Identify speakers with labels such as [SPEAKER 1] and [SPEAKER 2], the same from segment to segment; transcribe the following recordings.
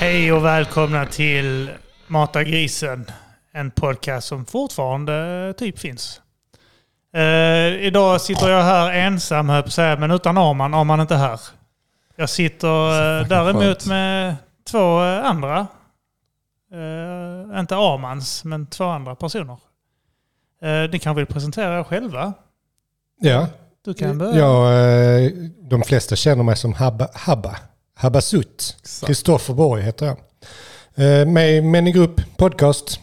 [SPEAKER 1] Hej och välkomna till Mata grisen. En podcast som fortfarande typ finns. Eh, idag sitter jag här ensam, höll jag på att säga, men utan Arman. Arman är inte här. Jag sitter eh, däremot
[SPEAKER 2] skönt.
[SPEAKER 1] med två eh, andra. Eh, inte Armans, men två andra personer. Eh, ni kan väl presentera er själva?
[SPEAKER 2] Ja,
[SPEAKER 1] Du kan börja.
[SPEAKER 2] ja eh, de flesta känner mig som Habba, Habba, Habbasut. Kristoffer Borg heter jag. Eh, Med i Män i grupp podcast.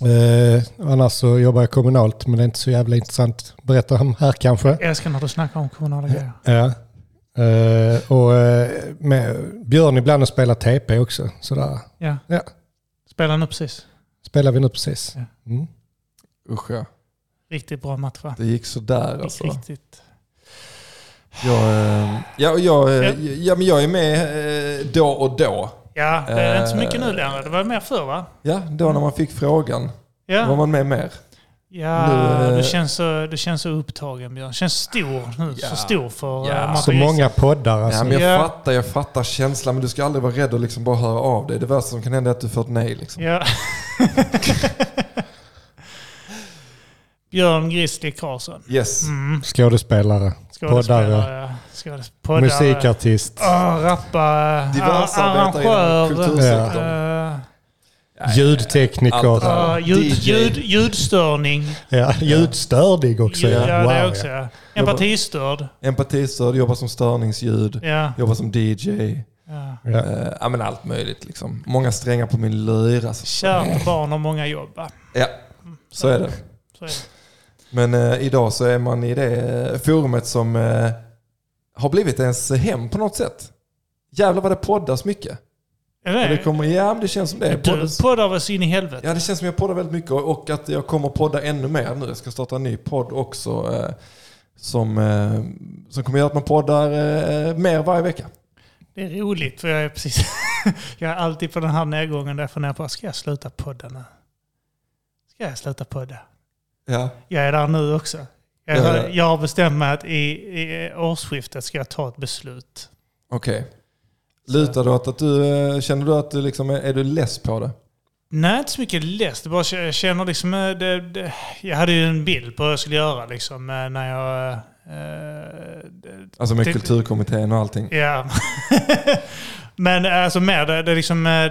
[SPEAKER 2] Eh, Annars så jobbar jag kommunalt men det är inte så jävla intressant att berätta om här kanske.
[SPEAKER 1] Jag älskar när du snackar om kommunala grejer.
[SPEAKER 2] Ja. Eh, Och eh, med Björn ibland och spelar TP också. Sådär.
[SPEAKER 1] Ja.
[SPEAKER 2] Ja.
[SPEAKER 1] Spelar nu precis.
[SPEAKER 2] Spelar vi nu precis. Mm.
[SPEAKER 3] Usch ja.
[SPEAKER 1] Riktigt bra match va?
[SPEAKER 3] Det gick sådär alltså.
[SPEAKER 1] Riktigt.
[SPEAKER 3] Jag, eh, ja, och jag, eh, ja, men jag är med eh, då och då.
[SPEAKER 1] Ja, det är inte så
[SPEAKER 3] Eh.
[SPEAKER 1] mycket nu längre. Det var mer förr va?
[SPEAKER 3] Ja, då när man fick frågan var
[SPEAKER 1] Ja,
[SPEAKER 3] man med mer.
[SPEAKER 1] ja
[SPEAKER 3] Nu, eh.
[SPEAKER 1] du, känns så, du känns så upptagen Björn. Känns stor nu.
[SPEAKER 3] Ja.
[SPEAKER 1] Så stor för
[SPEAKER 3] Ja.
[SPEAKER 1] eh, Martin
[SPEAKER 2] Så
[SPEAKER 1] Gris.
[SPEAKER 2] många poddar alltså.
[SPEAKER 3] Ja, men
[SPEAKER 1] Ja.
[SPEAKER 3] jag fattar, jag fattar känslan men du ska aldrig vara rädd och liksom bara höra av dig. Det värsta som kan hända är att du får ett nej. Liksom.
[SPEAKER 1] Ja. Björn Grizzly Karlsson.
[SPEAKER 3] Yes.
[SPEAKER 1] Mm.
[SPEAKER 2] Skådespelare, poddare,
[SPEAKER 1] Skådespelare. Skådes- Poddare.
[SPEAKER 2] musikartist.
[SPEAKER 1] Oh, rappare.
[SPEAKER 3] Diverse
[SPEAKER 1] ar-
[SPEAKER 3] arbetare inom kultursektorn.
[SPEAKER 1] eh,
[SPEAKER 2] Ljudtekniker.
[SPEAKER 3] Allt.
[SPEAKER 1] Ja, ljud,
[SPEAKER 3] DJ.
[SPEAKER 1] ljud, ljudstörning.
[SPEAKER 2] Ja, ljudstördig också.
[SPEAKER 1] Ja, det är
[SPEAKER 2] Wow,
[SPEAKER 1] också.
[SPEAKER 2] ja.
[SPEAKER 1] Ja. Empatistörd.
[SPEAKER 3] Empatistörd, jobbar som störningsljud,
[SPEAKER 1] Ja.
[SPEAKER 3] jobbar som DJ.
[SPEAKER 1] Ja.
[SPEAKER 2] Ja.
[SPEAKER 3] Eh, ja, men allt möjligt liksom. Många strängar på min lyra. Alltså.
[SPEAKER 1] Kärt barn har många jobb. va?
[SPEAKER 3] Ja, så är det.
[SPEAKER 1] Så är det.
[SPEAKER 3] Men eh, idag så är man i det eh, forumet som eh, har blivit ens hem på något sätt. Jävlar vad det poddas mycket.
[SPEAKER 1] Är det?
[SPEAKER 3] Och det kommer, ja, men det känns som det.
[SPEAKER 1] du
[SPEAKER 3] Poddas,
[SPEAKER 1] poddar väl så in i helvete?
[SPEAKER 3] ja, det känns som jag poddar väldigt mycket och och att jag kommer podda ännu mer nu. Jag ska starta en ny podd också eh, som, eh, som kommer göra att man poddar eh, mer varje vecka.
[SPEAKER 1] Det är roligt för jag är precis... jag är alltid på den här nedgången där jag funderar på, ska jag sluta podda nu? Ska jag sluta podda?
[SPEAKER 3] Ja.
[SPEAKER 1] Jag är där nu också. Jag, har-
[SPEAKER 3] Ja, ja.
[SPEAKER 1] jag har bestämt mig att i, i eh, årsskiftet ska jag ta ett beslut.
[SPEAKER 3] Okej. Lutar du åt att du, eh, känner du att du liksom, är- är du less på det?
[SPEAKER 1] Nej, inte så mycket läst. Det bara, jag känner liksom... eh, Det, det, jag hade ju en bild på vad jag skulle göra liksom eh, när jag... eh, eh,
[SPEAKER 3] Alltså med
[SPEAKER 1] Det-
[SPEAKER 3] kulturkommittén och allting?
[SPEAKER 1] Ja. Men alltså mer, det, det är liksom... eh, Det,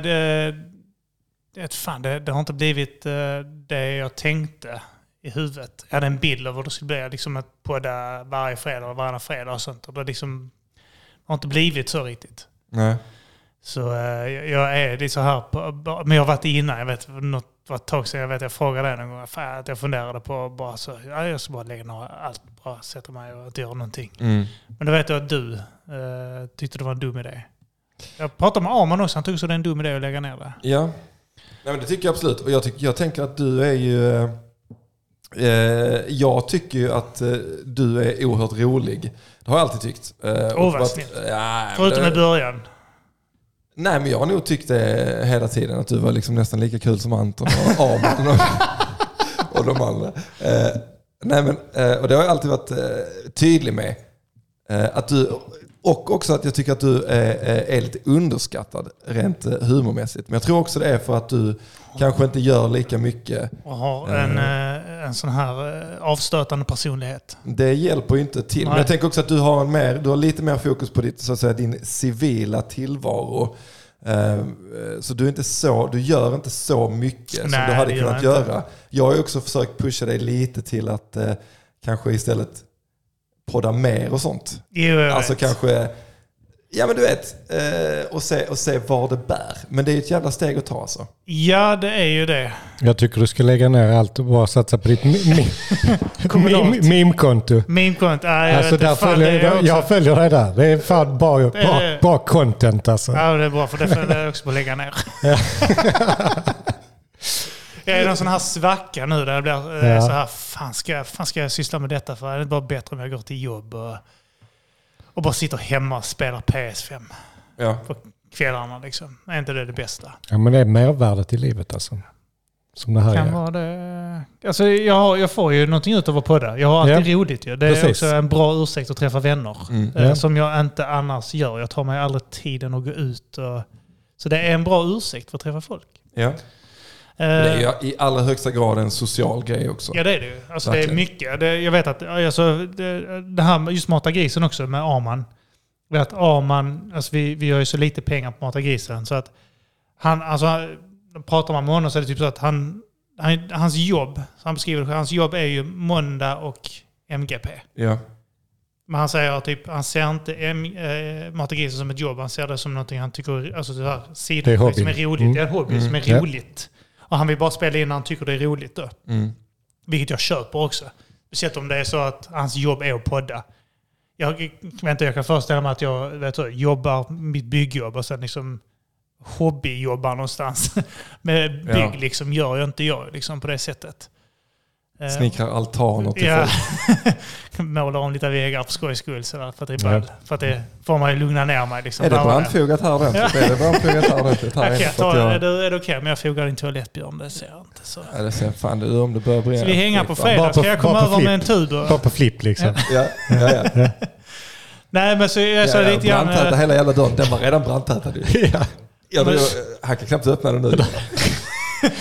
[SPEAKER 1] det, är ett fan, det, det har inte blivit eh, det jag tänkte i huvudet. Jag hade en bild av hur det skulle bli. Liksom att podda varje fredag och varannan fredag och sånt. Och det liksom har inte blivit så riktigt.
[SPEAKER 3] Nej.
[SPEAKER 1] Så eh, jag- jag är lite så här, på, bara- men jag har varit det innan. Jag vet, något, var ett tag sedan jag, vet, jag frågade dig någon gång. Fan, att jag funderade på bara så, ja, jag ska bara lägga några, allt, bara sätta mig och inte göra någonting.
[SPEAKER 3] Mm.
[SPEAKER 1] Men då vet jag att du eh, tyckte det var en dum idé. Jag pratade med Arman också, han tyckte så det är en dum idé att lägga ner det.
[SPEAKER 3] Ja, Nej, men det tycker jag absolut. Och jag, tycker, jag tänker att du är ju... eh, Eh, jag tycker ju att eh, du är oerhört rolig. Det har jag alltid tyckt. Eh, och
[SPEAKER 1] vad
[SPEAKER 3] varit-
[SPEAKER 1] snällt.
[SPEAKER 3] Ja, men
[SPEAKER 1] Förutom i
[SPEAKER 3] det,
[SPEAKER 1] början.
[SPEAKER 3] nej, men jag har nog tyckt det hela tiden. Att du var liksom nästan lika kul som Anton och Arman och, och de andra. Eh, nej, men, eh, och det har jag alltid varit eh, tydlig med. Eh, att du, och också att jag tycker att du är, eh, är lite underskattad rent eh, humormässigt. Men jag tror också det är för att du kanske inte gör lika mycket.
[SPEAKER 1] Och har en,
[SPEAKER 2] Mm.
[SPEAKER 1] eh, en sån här eh, avstötande personlighet.
[SPEAKER 3] Det hjälper ju inte till. Men
[SPEAKER 1] Nej.
[SPEAKER 3] jag tänker också att du har, en mer, du har lite mer fokus på ditt, så att säga, din civila tillvaro. Eh, eh, Så du, är inte så, du gör inte så mycket som
[SPEAKER 1] Nej,
[SPEAKER 3] du hade
[SPEAKER 1] det gör
[SPEAKER 3] kunnat
[SPEAKER 1] jag inte.
[SPEAKER 3] göra. Jag har ju också försökt pusha dig lite till att eh, kanske istället podda mer och sånt.
[SPEAKER 1] Jo, jag
[SPEAKER 3] Alltså
[SPEAKER 1] vet.
[SPEAKER 3] kanske, ja men du vet, eh, och, se, och se var det bär. Men det är ett jävla steg att ta alltså.
[SPEAKER 1] Ja, det är ju det.
[SPEAKER 2] Jag tycker du ska lägga ner allt och bara satsa på ditt mi- mi-
[SPEAKER 1] Kommunalt.
[SPEAKER 2] mi- meme-konto.
[SPEAKER 1] Meme-konto, nej, jag
[SPEAKER 2] Alltså
[SPEAKER 1] vet
[SPEAKER 2] där
[SPEAKER 1] inte. Fan,
[SPEAKER 2] följer
[SPEAKER 1] det är
[SPEAKER 2] jag,
[SPEAKER 1] också-
[SPEAKER 2] jag följer dig där. Det är fan bra,
[SPEAKER 1] det-
[SPEAKER 2] bra, bra content alltså.
[SPEAKER 1] Ja, det är bra för det får jag också på att lägga ner. jag är i någon sån här svacka nu där jag blir eh,
[SPEAKER 2] Ja.
[SPEAKER 1] så här, fan ska, jag- fan ska jag syssla med detta för? Är det inte bara bättre om jag går till jobb och, och bara sitter hemma och spelar PS5
[SPEAKER 3] Ja.
[SPEAKER 1] på kvällarna liksom? Är inte det det bästa?
[SPEAKER 2] Ja, men det är mervärdet i livet alltså. Som det här
[SPEAKER 1] Kan
[SPEAKER 2] är.
[SPEAKER 1] vara det. Alltså, jag, har, jag får ju någonting ut av att podda. Jag har alltid
[SPEAKER 2] Ja.
[SPEAKER 1] roligt ju. Det är
[SPEAKER 2] Precis.
[SPEAKER 1] också en bra ursäkt att träffa vänner.
[SPEAKER 3] Mm.
[SPEAKER 1] eh,
[SPEAKER 2] Ja.
[SPEAKER 1] Som jag inte annars gör. Jag tar mig aldrig tiden att gå ut och Så det är en bra ursäkt för att träffa folk.
[SPEAKER 3] Ja.
[SPEAKER 1] Eh,
[SPEAKER 3] Men Det är ju i allra högsta grad en social grej också.
[SPEAKER 1] Ja det är det ju. Alltså, det är
[SPEAKER 3] Verkligen.
[SPEAKER 1] mycket. Det, jag vet att alltså, det, det här med just Mata grisen också med Arman. Jag vet att Arman, alltså, vi, vi gör ju så lite pengar på Mata grisen så att han, alltså han- pratar man med honom så är det typ så att han, han hans jobb, så han beskriver det själv, hans jobb är ju måndag och MGP.
[SPEAKER 3] Ja.
[SPEAKER 1] Men han säger typ, han ser inte M, eh, Mata grisen som ett jobb, han ser det som någonting han tycker, alltså det här
[SPEAKER 2] Det är
[SPEAKER 1] sidoprojekt
[SPEAKER 2] hobby.
[SPEAKER 1] som är roligt.
[SPEAKER 2] Mm.
[SPEAKER 1] Det är en hobby som
[SPEAKER 2] Ja.
[SPEAKER 1] är roligt. Och han vill bara spela in när han tycker det är roligt då.
[SPEAKER 3] Mm.
[SPEAKER 1] Vilket jag köper också. Speciellt om det är så att hans jobb är att podda. Jag, vänta, jag kan föreställa mig att jag vet du, jobbar mitt byggjobb och sen liksom hobbyjobbar någonstans. Med bygg
[SPEAKER 3] Ja.
[SPEAKER 1] liksom gör jag inte jag liksom på det sättet. Eh,
[SPEAKER 3] Snickrar altaner till
[SPEAKER 1] Ja.
[SPEAKER 3] folk.
[SPEAKER 1] Målar om lite väggar för skojs skull. sådär, För att det är
[SPEAKER 2] Ja.
[SPEAKER 1] ball. För att det får man ju lugna ner mig. Liksom,
[SPEAKER 3] Är det
[SPEAKER 1] där och där.
[SPEAKER 3] brandfogat här ordentligt? Är det brandfogat här ordentligt? Här
[SPEAKER 1] Okej,
[SPEAKER 3] inne?
[SPEAKER 1] jag
[SPEAKER 3] För att
[SPEAKER 1] tar,
[SPEAKER 3] jag-
[SPEAKER 1] är det, är det okej om jag fogar din toalettbjörn? Det ser jag inte. Så.
[SPEAKER 3] Ja, det ser fan du om det börjar brinna.
[SPEAKER 1] Ska vi hänga på
[SPEAKER 3] Fan.
[SPEAKER 1] fredag?
[SPEAKER 2] Bara på-
[SPEAKER 1] Ska jag komma
[SPEAKER 2] bara på
[SPEAKER 1] över med en
[SPEAKER 2] flip.
[SPEAKER 1] tuber?
[SPEAKER 2] Bara på flipp liksom.
[SPEAKER 3] Ja, ja, ja.
[SPEAKER 1] Nej, men så jag sa
[SPEAKER 3] ja, ja
[SPEAKER 1] lite grann...
[SPEAKER 3] brandtäta
[SPEAKER 1] eh,
[SPEAKER 3] hela jävla dörren. Den var redan brandtätad ju.
[SPEAKER 2] Ja.
[SPEAKER 3] Jag,
[SPEAKER 1] Men-
[SPEAKER 3] jag, han kan knappt öppna den nu.
[SPEAKER 1] eh,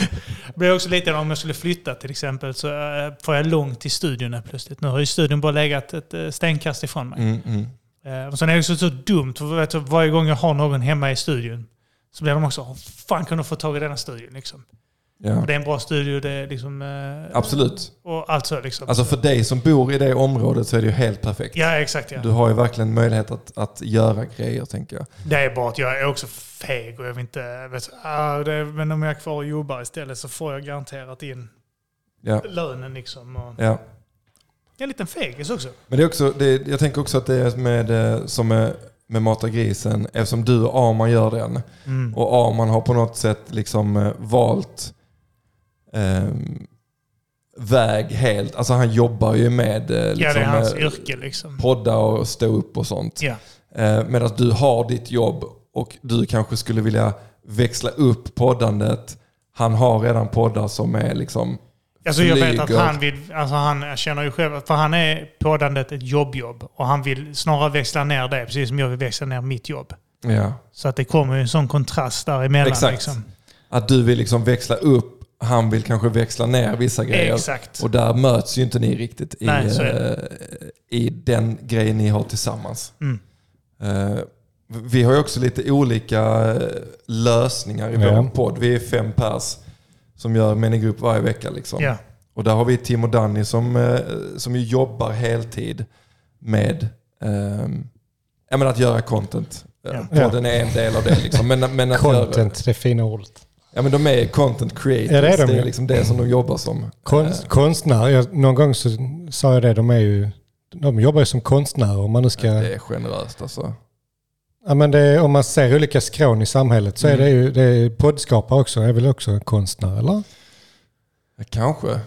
[SPEAKER 1] blev också lite grann om jag skulle flytta till exempel så eh, får jag långt till studion här plötsligt. Nu har ju studion bara legat ett eh, stenkast ifrån mig.
[SPEAKER 3] Mm, mm.
[SPEAKER 1] Eh, Och sen är det också så dumt, för vet du, varje gång jag har någon hemma i studion så blir de också, hur fan kan de få tag i denna studion liksom?
[SPEAKER 3] Ja.
[SPEAKER 1] Och det är en bra studio, det är liksom... eh,
[SPEAKER 3] Absolut.
[SPEAKER 1] Och allt så liksom.
[SPEAKER 3] Alltså för dig som bor i det området så är det ju helt perfekt.
[SPEAKER 1] ja, exakt ja.
[SPEAKER 3] Du har ju verkligen möjlighet att, att göra grejer tänker jag.
[SPEAKER 1] Det är bara att jag är också feg och jag vill inte... Vet, du, ah, det, men om jag är kvar och jobbar istället så får jag garanterat in
[SPEAKER 3] Ja.
[SPEAKER 1] lönen liksom. Och,
[SPEAKER 3] Ja.
[SPEAKER 1] jag är en liten fegis också.
[SPEAKER 3] Men det är också, det, jag tänker också att det är med, eh, som med, med Mata grisen, eftersom du och Arman gör den.
[SPEAKER 1] Mm.
[SPEAKER 3] Och Arman har på något sätt liksom eh, valt ehm, väg helt. Alltså han jobbar ju med eh, liksom,
[SPEAKER 1] ja, det är hans
[SPEAKER 3] eh,
[SPEAKER 1] yrke liksom.
[SPEAKER 3] podda och stå upp och sånt.
[SPEAKER 1] Ja.
[SPEAKER 3] Eh, Medan du har ditt jobb och du kanske skulle vilja växla upp poddandet. Han har redan poddar som är liksom...
[SPEAKER 1] Alltså jag vet att
[SPEAKER 3] flyger.
[SPEAKER 1] han vill, alltså han jag känner ju själv, för han är poddandet ett jobbjobb och han vill snarare växla ner det, precis som jag vill växla ner mitt jobb.
[SPEAKER 3] Ja.
[SPEAKER 1] Så att det kommer ju en sån kontrast däremellan.
[SPEAKER 3] Exakt.
[SPEAKER 1] Liksom.
[SPEAKER 3] Att du vill liksom växla upp, han vill kanske växla ner vissa grejer.
[SPEAKER 1] Exakt.
[SPEAKER 3] Och där möts ju inte ni riktigt i,
[SPEAKER 1] Nej, så är
[SPEAKER 3] eh, i den grejen ni har tillsammans.
[SPEAKER 1] Mm.
[SPEAKER 3] Eh, Vi har ju också lite olika eh, lösningar i vår
[SPEAKER 2] Ja.
[SPEAKER 3] podd. Vi är fem pers som gör minigrupp varje vecka. Liksom.
[SPEAKER 1] Ja.
[SPEAKER 3] Och där har vi Tim och Danny som, eh, som ju jobbar heltid med ehm, ja, men att göra content.
[SPEAKER 1] Ja.
[SPEAKER 3] Ja. Podden är en del av det. Liksom. Men, men att Göra,
[SPEAKER 2] Content, det fina ordet.
[SPEAKER 3] ja, men de är content creators.
[SPEAKER 2] Ja, det är de
[SPEAKER 3] det
[SPEAKER 2] ju.
[SPEAKER 3] är liksom det som de jobbar som.
[SPEAKER 2] Konst, Konstnär, jag, någon gång så sa jag det, de är ju... De jobbar ju som konstnärer om man nu ska...
[SPEAKER 3] Eh, Det är generöst alltså.
[SPEAKER 2] Ja, men det, är- om man ser olika skrån i samhället så
[SPEAKER 3] Mm.
[SPEAKER 2] är det ju det är poddskapare också, är väl också en konstnär eller?
[SPEAKER 3] Ja, Kanske.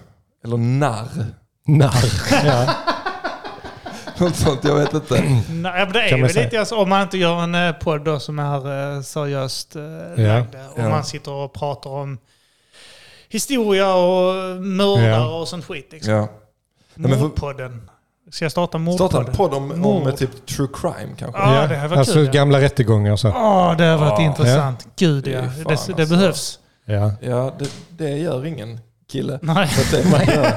[SPEAKER 3] Eller narr.
[SPEAKER 2] Narr. ja.
[SPEAKER 3] Något sånt, jag vet inte.
[SPEAKER 1] Nej, men det är
[SPEAKER 2] Kan man
[SPEAKER 1] väl
[SPEAKER 2] säga.
[SPEAKER 1] lite, alltså, om man inte gör en eh, podd då som är eh, seriöst eh, lagd, och
[SPEAKER 3] Ja.
[SPEAKER 1] man sitter och pratar om historia och mördare
[SPEAKER 2] Ja.
[SPEAKER 1] och sånt skit. Liksom.
[SPEAKER 3] Ja. men för-
[SPEAKER 1] Mordpodden. Ska jag starta
[SPEAKER 3] Starta
[SPEAKER 1] mordpodden?
[SPEAKER 3] en podd om, om
[SPEAKER 1] Mord.
[SPEAKER 3] typ true crime kanske.
[SPEAKER 1] Ja, det hade varit
[SPEAKER 2] alltså
[SPEAKER 1] kul, ja.
[SPEAKER 2] gamla rättegångar och så.
[SPEAKER 1] Åh, det har varit
[SPEAKER 3] Ja.
[SPEAKER 1] intressant. Gud ja,
[SPEAKER 3] Det är fan,
[SPEAKER 1] det, det,
[SPEAKER 3] alltså.
[SPEAKER 1] behövs.
[SPEAKER 2] Ja.
[SPEAKER 3] Ja, det, det gör ingen kille.
[SPEAKER 2] Mm.
[SPEAKER 1] Nej.
[SPEAKER 3] Så att det man gör.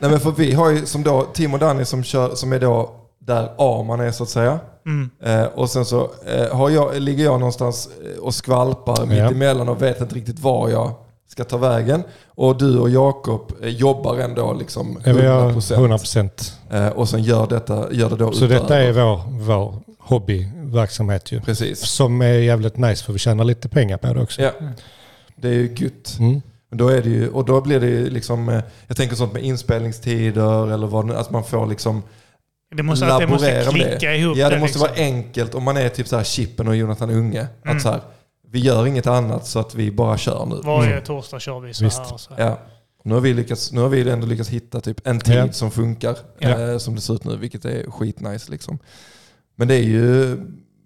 [SPEAKER 3] Nej, men för vi har ju som då Tim och Danny som, kör, som är då där Arman är så att säga.
[SPEAKER 1] Mm.
[SPEAKER 3] Eh, och sen så eh, har jag, ligger jag någonstans eh, och skvalpar
[SPEAKER 2] Ja.
[SPEAKER 3] mitt emellan och vet inte riktigt var jag ska ta vägen. Och du och Jakob eh, jobbar ändå liksom
[SPEAKER 2] Det var jag
[SPEAKER 3] 100%.
[SPEAKER 2] 100 procent.
[SPEAKER 3] Eh, och sen gör, detta, gör det då
[SPEAKER 2] Så
[SPEAKER 3] utöver.
[SPEAKER 2] detta är vår, vår hobbyverksamhet ju.
[SPEAKER 3] Precis.
[SPEAKER 2] Som är jävligt nice för vi tjänar lite pengar på det också.
[SPEAKER 3] Ja. Det är ju gött.
[SPEAKER 2] Mm.
[SPEAKER 3] Men Då är det ju, och då blir det ju liksom, eh, jag tänker sånt med inspelningstider eller vad det- att man får liksom
[SPEAKER 1] Det måste, att det måste
[SPEAKER 3] laborera med
[SPEAKER 1] klicka
[SPEAKER 3] det.
[SPEAKER 1] ihop.
[SPEAKER 3] ja, det
[SPEAKER 1] där,
[SPEAKER 3] måste
[SPEAKER 1] liksom.
[SPEAKER 3] vara enkelt om man är typ så här Chippen och Jonathan Unge.
[SPEAKER 1] Mm.
[SPEAKER 3] Att så här, vi gör inget annat så att vi bara kör nu. Mm.
[SPEAKER 1] Varje torsdag kör vi så
[SPEAKER 2] Visst.
[SPEAKER 1] här. Och så.
[SPEAKER 3] Ja. Nu har, vi lyckats, nu har vi ändå lyckats hitta typ en tid
[SPEAKER 2] Ja.
[SPEAKER 3] som funkar,
[SPEAKER 2] Ja.
[SPEAKER 3] eh, som det ser ut nu, vilket är skitnice. Liksom. Men det är ju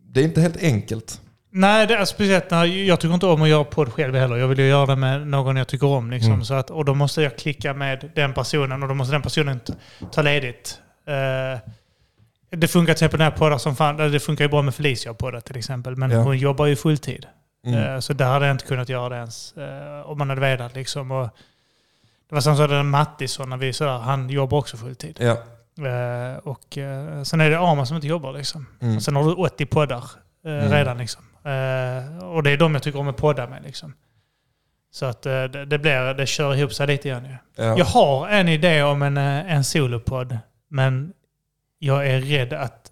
[SPEAKER 3] det är inte helt enkelt.
[SPEAKER 1] Nej, det är speciellt när jag tycker inte om att göra podd själv heller. Jag vill ju göra det med någon jag tycker om. Liksom,
[SPEAKER 2] Mm.
[SPEAKER 1] så att, och då måste jag klicka med den personen och då måste den personen ta, ta ledigt. Eh, det funkar till exempel när jag poddar som fan. Det funkar ju bra med Felicia på det till exempel. Men
[SPEAKER 3] Ja.
[SPEAKER 1] hon jobbar ju fulltid.
[SPEAKER 3] Mm.
[SPEAKER 1] Eh, Så där hade jag inte kunnat göra det ens eh, om man hade velat. Liksom. Och det var samma sak med Mattisson, när vi sådär, han jobbar också fulltid.
[SPEAKER 3] Ja.
[SPEAKER 1] Eh, Och eh, sen är det Arman som inte jobbar. Liksom.
[SPEAKER 3] Mm.
[SPEAKER 1] Och sen har du 80 poddar eh,
[SPEAKER 3] Mm.
[SPEAKER 1] redan. Liksom. Eh, Och det är de jag tycker om att podda med. Liksom. Så att eh, det, det, blir, det kör ihop sig lite grann. ju.
[SPEAKER 3] Ja.
[SPEAKER 1] Jag har en idé om en, eh, en solopodd, men jag är rädd att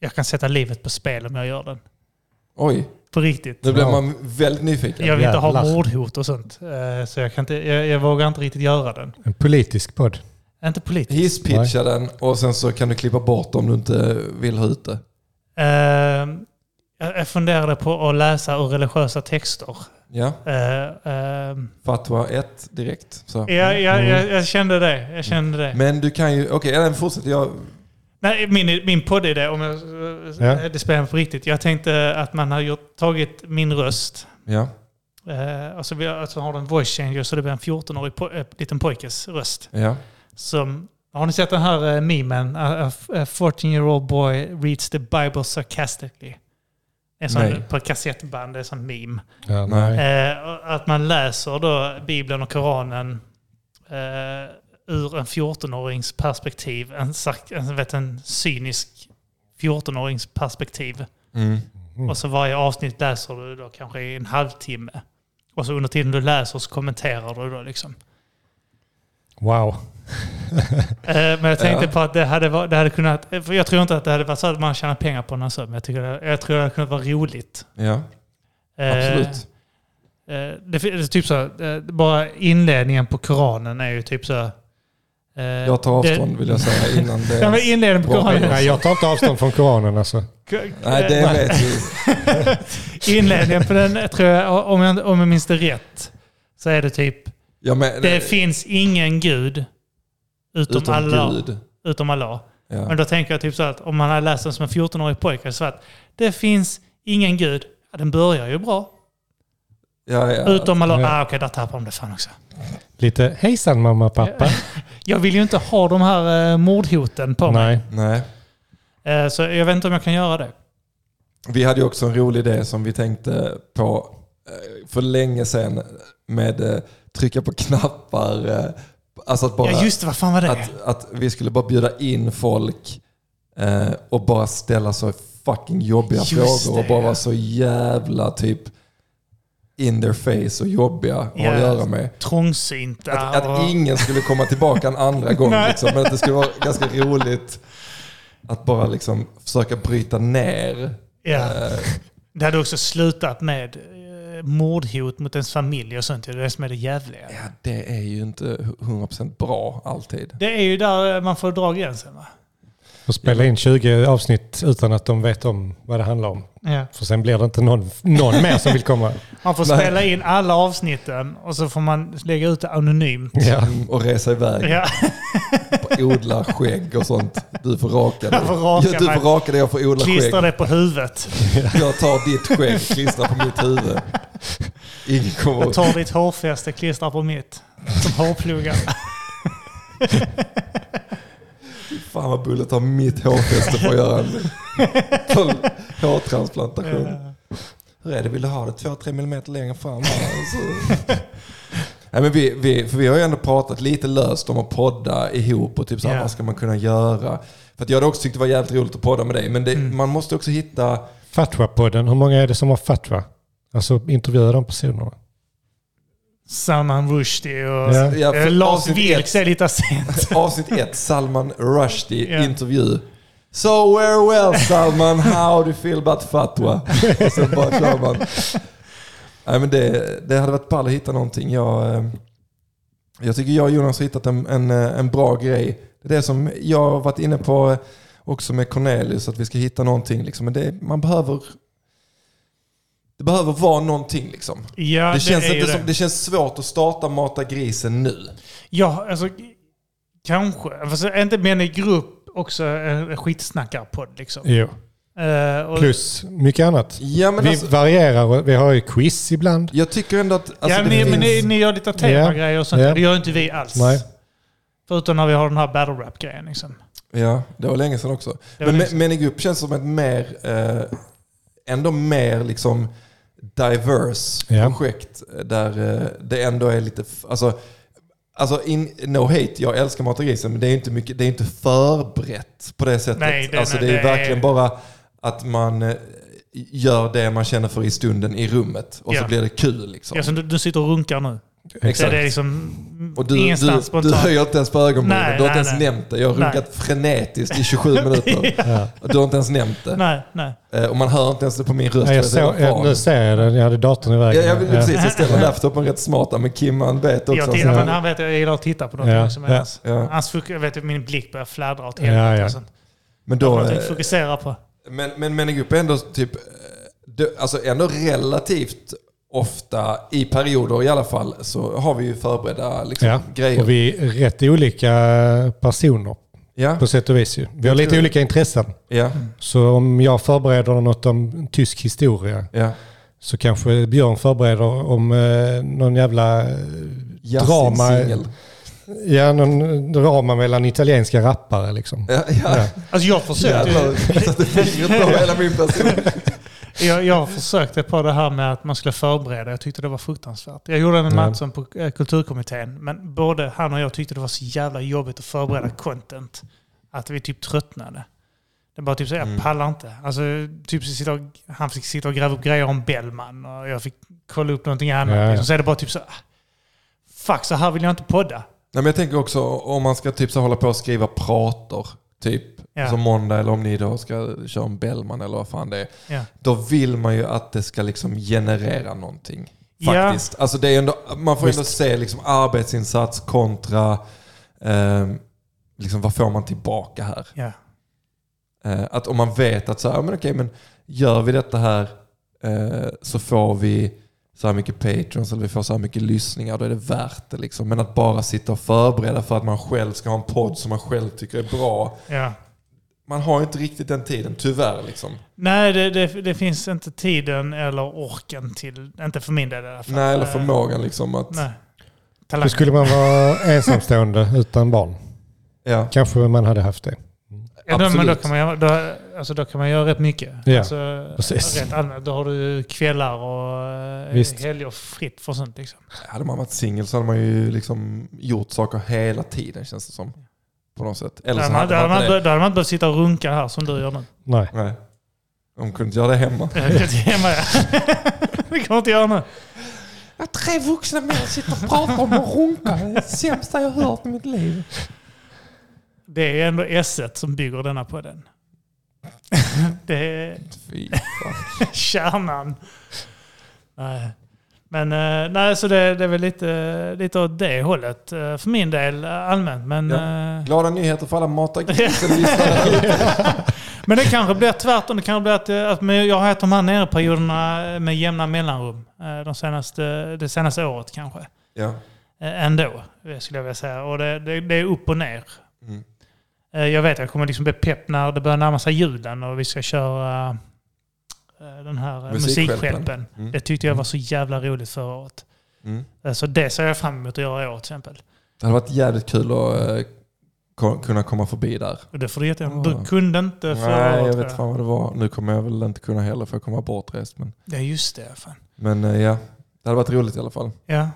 [SPEAKER 1] jag kan sätta livet på spel om jag gör den.
[SPEAKER 3] Oj,
[SPEAKER 1] På riktigt.
[SPEAKER 3] nu blev
[SPEAKER 2] Ja.
[SPEAKER 3] man väldigt nyfiken.
[SPEAKER 1] Jag vill inte ha
[SPEAKER 2] Jävlar.
[SPEAKER 1] mordhot och sånt. eh, Så jag, kan inte, jag, jag vågar inte riktigt göra den.
[SPEAKER 2] En politisk podd.
[SPEAKER 1] Inte politiskt.
[SPEAKER 3] Hisspitcha den och sen så kan du klippa bort om du inte vill ha ut det.
[SPEAKER 1] Eh, Jag jag funderade på att läsa ur religiösa texter.
[SPEAKER 3] Ja,
[SPEAKER 1] Eh, eh,
[SPEAKER 3] fatwa 1 direkt. Så.
[SPEAKER 1] Jag, jag, jag, jag kände det. Jag kände det.
[SPEAKER 3] Men du kan ju, okej, okay, fortsätt. Jag,
[SPEAKER 1] Nej, min, min poddidé, om jag, eh,
[SPEAKER 2] Ja.
[SPEAKER 1] det spelar på riktigt. Jag tänkte att man har gjort, tagit min röst
[SPEAKER 3] ja,
[SPEAKER 1] Eh, alltså, vi har, alltså har du en voice changer så det blir en 14-årig po- eh, liten pojkes röst.
[SPEAKER 3] ja.
[SPEAKER 1] Som, har ni sett den här eh, memen? A, a, a 14-year-old boy reads the Bible sarcastically. En sån,
[SPEAKER 3] Nej.
[SPEAKER 1] på ett kassettband, det är en sån meme.
[SPEAKER 2] Ja,
[SPEAKER 3] Nej.
[SPEAKER 2] nej.
[SPEAKER 1] Eh, och att man läser då Bibeln och Koranen eh, ur en 14-årings perspektiv. En, sark- en, vet, en cynisk 14-årings perspektiv.
[SPEAKER 3] Mm.
[SPEAKER 2] Mm.
[SPEAKER 1] Och så varje avsnitt läser du då kanske i en halvtimme. Och så under tiden du läser så kommenterar du då liksom.
[SPEAKER 2] Wow.
[SPEAKER 1] Eh, Men jag tänkte
[SPEAKER 3] Ja.
[SPEAKER 1] på att det hade, varit, det hade kunnat... eh, för Jag tror inte att det hade varit så att man tjänar pengar på den här sömnen. Jag, tycker det- jag tror det hade kunnat vara roligt.
[SPEAKER 3] ja,
[SPEAKER 1] Eh,
[SPEAKER 3] absolut.
[SPEAKER 1] eh, Det, fin- det är typ så, här, eh, bara inledningen på Koranen är ju typ så... här, eh,
[SPEAKER 3] Jag tar avstånd vill jag säga innan
[SPEAKER 1] Det, ja, men
[SPEAKER 3] det...
[SPEAKER 1] inledningen på
[SPEAKER 3] Bra
[SPEAKER 1] Koranen.
[SPEAKER 2] Nej, jag tar inte avstånd från Koranen alltså.
[SPEAKER 3] Nej, det vet vi.
[SPEAKER 1] Inledningen på den, tror jag, om jag, om jag minns det rätt, så är det typ...
[SPEAKER 3] Ja, men,
[SPEAKER 1] Det finns ingen gud utom,
[SPEAKER 3] utom
[SPEAKER 1] Allah.
[SPEAKER 3] Gud.
[SPEAKER 1] Utom Allah.
[SPEAKER 3] Ja.
[SPEAKER 1] Men då tänker jag typ så att om man hade läst den som en 14-årig pojke så att det finns ingen gud. Ja, den börjar ju bra.
[SPEAKER 3] Ja, ja.
[SPEAKER 1] Utom Allah.
[SPEAKER 2] Ja.
[SPEAKER 1] Ah, Okej, där tappade de det fan också.
[SPEAKER 2] Lite hejsan mamma och pappa.
[SPEAKER 1] Jag vill ju inte ha de här eh, mordhoten på mig.
[SPEAKER 2] Nej.
[SPEAKER 3] Nej.
[SPEAKER 1] Eh, så jag vet inte om jag kan göra det.
[SPEAKER 3] Vi hade ju också en rolig idé som vi tänkte på eh, för länge sedan med eh, trycka på knappar. eh, Alltså att bara...
[SPEAKER 1] Ja, just det. Vad fan var det?
[SPEAKER 3] att, att vi skulle bara bjuda in folk eh, och bara ställa så fucking jobbiga
[SPEAKER 1] Just
[SPEAKER 3] frågor och
[SPEAKER 1] det,
[SPEAKER 3] bara
[SPEAKER 1] ja.
[SPEAKER 3] vara så jävla typ in their face och jobbiga att
[SPEAKER 1] Ja.
[SPEAKER 3] ha att göra med.
[SPEAKER 1] Trångsynta
[SPEAKER 3] Att, att
[SPEAKER 1] och...
[SPEAKER 3] ingen skulle komma tillbaka en andra gång
[SPEAKER 1] Nej.
[SPEAKER 3] liksom, men att det skulle vara ganska roligt att bara liksom försöka bryta ner.
[SPEAKER 1] Ja.
[SPEAKER 3] Eh,
[SPEAKER 1] Det hade också slutat med eh, mordhot mot ens familj och sånt. Det är det som är det jävliga.
[SPEAKER 3] ja, det är ju inte 100% bra alltid.
[SPEAKER 1] Det är ju där eh, man får dra gränsen va?
[SPEAKER 2] Och spela in 20 avsnitt utan att de vet om vad det handlar om.
[SPEAKER 1] Ja.
[SPEAKER 2] För sen blir det inte någon, någon mer som vill komma.
[SPEAKER 1] Man får
[SPEAKER 3] Nej.
[SPEAKER 1] spela in alla avsnitten och så får man lägga ut det anonymt.
[SPEAKER 2] Ja.
[SPEAKER 3] Mm, Och resa iväg.
[SPEAKER 1] Ja.
[SPEAKER 3] odla skägg och sånt. Du får raka dig.
[SPEAKER 1] Jag får raka
[SPEAKER 3] Ja, du får
[SPEAKER 1] mig.
[SPEAKER 3] raka dig, jag får odla
[SPEAKER 1] Klistra
[SPEAKER 3] skägg.
[SPEAKER 1] det på huvudet.
[SPEAKER 3] Jag tar ditt skägg, klistrar på mitt huvud. Ingen
[SPEAKER 1] Jag
[SPEAKER 3] kommer...
[SPEAKER 1] tar ditt hårfäste, klistrar på mitt. Som hårpluggar.
[SPEAKER 3] Fan vad Bullet har mitt hårfäste för att göra en för en hårtransplantation.
[SPEAKER 1] Eh,
[SPEAKER 3] Hur är det, vill du ha det två, tre millimeter längre fram? här? Så... Nej, men vi, vi, för vi har ju ändå pratat lite löst om att podda ihop och typ så här,
[SPEAKER 1] Ja.
[SPEAKER 3] vad ska man kunna göra? För att jag hade också tyckt det var jävligt roligt att podda med dig, men det,
[SPEAKER 1] Mm.
[SPEAKER 3] man måste också hitta...
[SPEAKER 2] Fatwa-podden, hur många är det som har fatwa? Alltså intervjuar de personerna?
[SPEAKER 1] Salman Rushdie och
[SPEAKER 2] Ja.
[SPEAKER 3] Ja, för
[SPEAKER 1] eh, Lars
[SPEAKER 3] avsnitt
[SPEAKER 1] Vilks
[SPEAKER 3] ett-
[SPEAKER 1] är lite sent.
[SPEAKER 3] Avsnitt 1, Salman Rushdie
[SPEAKER 1] Ja.
[SPEAKER 3] intervju. So very well Salman, how do you feel about fatwa? Och sen bara kör man. Nej, men det, det hade varit ball att hitta någonting. Jag, eh, jag tycker jag och Jonas har hittat en, en, eh, en bra grej. Det är det som jag har varit inne på eh, också med Cornelius, att vi ska hitta någonting. Liksom. Men det, man behöver... Det behöver vara någonting liksom.
[SPEAKER 1] Ja,
[SPEAKER 3] det,
[SPEAKER 1] det,
[SPEAKER 3] känns
[SPEAKER 1] är ju
[SPEAKER 3] inte
[SPEAKER 1] det.
[SPEAKER 3] Som, det känns svårt att starta Mata grisen nu.
[SPEAKER 1] Ja, alltså kanske. Fast är inte men i grupp också en skitsnackarpodd liksom.
[SPEAKER 2] Jo.
[SPEAKER 1] Eh, och-
[SPEAKER 2] Plus mycket annat.
[SPEAKER 3] Ja, men
[SPEAKER 2] Vi
[SPEAKER 3] alltså-
[SPEAKER 2] varierar, och vi har ju quiz ibland.
[SPEAKER 3] Jag tycker ändå att... alltså,
[SPEAKER 1] ja,
[SPEAKER 3] det
[SPEAKER 1] ni, men ni,
[SPEAKER 3] finns-
[SPEAKER 1] ni gör lite temagrejer och sånt.
[SPEAKER 2] Ja.
[SPEAKER 1] Det gör inte vi alls.
[SPEAKER 2] Nej.
[SPEAKER 1] Förutom när vi har den här battle rap-grejen. Liksom.
[SPEAKER 3] Ja, det var länge sedan också.
[SPEAKER 1] Det var
[SPEAKER 3] Men,
[SPEAKER 1] länge sedan.
[SPEAKER 3] men i grupp känns som ett mer... Eh, ändå mer liksom diverse
[SPEAKER 2] Ja.
[SPEAKER 3] projekt där eh, det ändå är lite... f- Alltså, alltså in, no hate, jag älskar Mata grisen, men det är ju inte, mycket, det är inte förberett på det sättet.
[SPEAKER 1] Nej, det-
[SPEAKER 3] alltså,
[SPEAKER 1] nej,
[SPEAKER 3] det är ju
[SPEAKER 1] det är-
[SPEAKER 3] verkligen bara att man eh, gör det man känner för i stunden i rummet och
[SPEAKER 1] Ja.
[SPEAKER 3] så blir det kul. Liksom.
[SPEAKER 1] Ja, så du, du sitter och runkar nu.
[SPEAKER 3] Exakt.
[SPEAKER 1] Det är liksom
[SPEAKER 3] Och du, du,
[SPEAKER 1] ingenstans
[SPEAKER 3] du
[SPEAKER 1] spontant.
[SPEAKER 3] höjer inte ens på ögonbrynen.
[SPEAKER 1] Nej,
[SPEAKER 3] Du har inte
[SPEAKER 1] nej,
[SPEAKER 3] ens
[SPEAKER 1] nej.
[SPEAKER 3] nämnt det. Jag har
[SPEAKER 1] Nej.
[SPEAKER 3] runkat frenetiskt i 27 minuter. Och Du har inte ens nämnt det.
[SPEAKER 1] Nej, nej.
[SPEAKER 3] Eh, Och man hör inte ens det på min röst.
[SPEAKER 2] Nej, jag
[SPEAKER 3] vet inte
[SPEAKER 2] såg,
[SPEAKER 3] vad fan.
[SPEAKER 2] jag, nu ser jag den, jag hade datorn i vägen.
[SPEAKER 3] Ja, jag vill precis. Jag ställer laptopen rätt smart där, men Kim han vet också.
[SPEAKER 1] Jag, tittar, men han vet, jag gillar att titta på någonting.
[SPEAKER 2] Ja.
[SPEAKER 1] Liksom,
[SPEAKER 2] Ja.
[SPEAKER 1] Hans-
[SPEAKER 3] Ja.
[SPEAKER 1] Hans, fok- jag vet, att min blick börjar fladdra åt
[SPEAKER 2] Ja,
[SPEAKER 1] helvete.
[SPEAKER 2] ja.
[SPEAKER 1] och sånt.
[SPEAKER 3] men då,
[SPEAKER 1] Jag
[SPEAKER 3] eh,
[SPEAKER 1] tänkte fokusera på...
[SPEAKER 3] men, men Menegrupp är ändå typ, eh, det- alltså ändå relativt ofta, i perioder i alla fall, så har vi ju förberedda liksom,
[SPEAKER 2] Ja,
[SPEAKER 3] grejer.
[SPEAKER 2] Och vi är rätt olika personer
[SPEAKER 3] ja,
[SPEAKER 2] på sätt och vis. ju. Vi har lite
[SPEAKER 3] tror-
[SPEAKER 2] olika intressen.
[SPEAKER 3] ja,
[SPEAKER 2] Så om jag förbereder något om tysk historia
[SPEAKER 3] ja.
[SPEAKER 2] så kanske Björn förbereder om eh, någon jävla eh, Drama-
[SPEAKER 3] Jazzsingel.
[SPEAKER 2] ja, någon drama mellan italienska rappare. Liksom.
[SPEAKER 3] Ja, ja.
[SPEAKER 2] Ja.
[SPEAKER 1] Alltså jag försökte,
[SPEAKER 3] Jävlar, jag satte fingret på hela min person.
[SPEAKER 1] jag, jag försökte på det här med att man skulle förbereda. Jag tyckte det var fruktansvärt. Jag gjorde en
[SPEAKER 2] Ja.
[SPEAKER 1] Mattsson på eh, kulturkommittén, men både han och jag tyckte det var så jävla jobbigt att
[SPEAKER 2] Mm.
[SPEAKER 1] förbereda content. Att vi typ tröttnade. Det var typ så, jag
[SPEAKER 3] Mm.
[SPEAKER 1] pallar inte. Alltså, typ så sitta och, han fick sitta och gräva upp grejer om Bellman och jag fick kolla upp någonting annat.
[SPEAKER 2] Ja, ja.
[SPEAKER 1] Liksom. Så är det bara typ så, ah, fuck så här vill jag inte podda.
[SPEAKER 3] Nej, men jag tänker också om man ska typ så hålla på och skriva prator, typ
[SPEAKER 1] Ja.
[SPEAKER 3] som måndag eller om ni då ska köra en Bellman eller vad fan det är.
[SPEAKER 1] Ja.
[SPEAKER 3] Då vill man ju att det ska liksom generera någonting.
[SPEAKER 1] Ja.
[SPEAKER 3] Faktiskt. Alltså det är ändå, man får ändå
[SPEAKER 2] Visst.
[SPEAKER 3] se liksom arbetsinsats kontra ehm, liksom vad får man tillbaka här.
[SPEAKER 1] Ja.
[SPEAKER 3] Eh, att om man vet att så här, ja, men okej, men gör vi detta här eh, så får vi så här mycket patrons eller vi får så här mycket lyssningar, då är det värt det. Liksom. Men att bara sitta och förbereda för att man själv ska ha en podd som man själv tycker är bra.
[SPEAKER 1] Ja.
[SPEAKER 3] Man har ju inte riktigt den tiden, tyvärr. Liksom.
[SPEAKER 1] Nej, det, det, det finns inte tiden eller orken till, inte för min del i alla fall.
[SPEAKER 3] Nej, eller
[SPEAKER 1] Eh,
[SPEAKER 3] förmågan liksom att...
[SPEAKER 1] Nej.
[SPEAKER 2] Då
[SPEAKER 1] Talang.
[SPEAKER 2] skulle man vara ensamstående utan barn.
[SPEAKER 3] Ja,
[SPEAKER 2] Kanske man hade haft det.
[SPEAKER 1] Ja, då, men då
[SPEAKER 3] absolut.
[SPEAKER 1] kan, man göra, då, alltså, då kan man göra rätt mycket.
[SPEAKER 2] Ja,
[SPEAKER 1] alltså,
[SPEAKER 2] precis.
[SPEAKER 1] Rent allmänt. Då har du kvällar och eh,
[SPEAKER 2] Visst.
[SPEAKER 1] helger fritt för sånt. Liksom.
[SPEAKER 3] Hade man varit singel så hade man ju liksom gjort saker hela tiden känns det som. På något sätt. Eller
[SPEAKER 1] Då
[SPEAKER 3] så
[SPEAKER 1] hade, man,
[SPEAKER 3] hade
[SPEAKER 1] då, hade man,
[SPEAKER 3] man
[SPEAKER 1] inte be-
[SPEAKER 3] inte det.
[SPEAKER 1] då hade man inte behövt sitta och runka här som du gör nu.
[SPEAKER 2] Nej.
[SPEAKER 3] Nej. De kunde inte göra det hemma.
[SPEAKER 1] Det kommer jag inte göra nu.
[SPEAKER 3] Att tre vuxna män sitter och pratar om att runka. Det är det sämsta jag hört i mitt liv.
[SPEAKER 1] Det är ändå S1 som bygger denna podden. Det är
[SPEAKER 3] Fy.
[SPEAKER 1] kärnan. Nej. Men eh, nej, så det, det är väl lite, lite åt det hållet eh, för min del eh, allmänt. Men, eh,
[SPEAKER 3] Glada nyheter för alla mata grisen
[SPEAKER 1] Men det kanske blir tvärtom. Det kanske blir att, eh, att men jag har haft de här nere-perioderna eh, med jämna mellanrum. eh, De senaste, det senaste året kanske.
[SPEAKER 3] Ja.
[SPEAKER 1] Eh, Ändå, eh, skulle jag vilja säga. Och det, det, det är upp och ner.
[SPEAKER 3] Mm.
[SPEAKER 1] Eh, Jag vet att jag kommer liksom bli pepp när det börjar närma sig julen och vi ska köra eh, den här eh,
[SPEAKER 3] Musikhjälpen.
[SPEAKER 1] musikhjälpen.
[SPEAKER 3] Mm.
[SPEAKER 1] Det tyckte jag var så jävla roligt förra året.
[SPEAKER 3] Mm.
[SPEAKER 1] Eh, Så det ser jag fram emot att göra i år till exempel.
[SPEAKER 3] Det hade varit jävligt kul att eh, ko- kunna komma förbi där.
[SPEAKER 1] Och det får du jättegärna.
[SPEAKER 3] Ja.
[SPEAKER 1] Du kunde inte förra
[SPEAKER 3] Nej, jag
[SPEAKER 1] året.
[SPEAKER 3] vet
[SPEAKER 1] tror
[SPEAKER 3] fan vad det var. Nu kommer jag väl inte kunna heller för jag kommer vara bortrest. Men,
[SPEAKER 1] jag. Ja, just det. Fan.
[SPEAKER 3] men eh, ja, det hade varit roligt i alla fall.
[SPEAKER 1] Ja.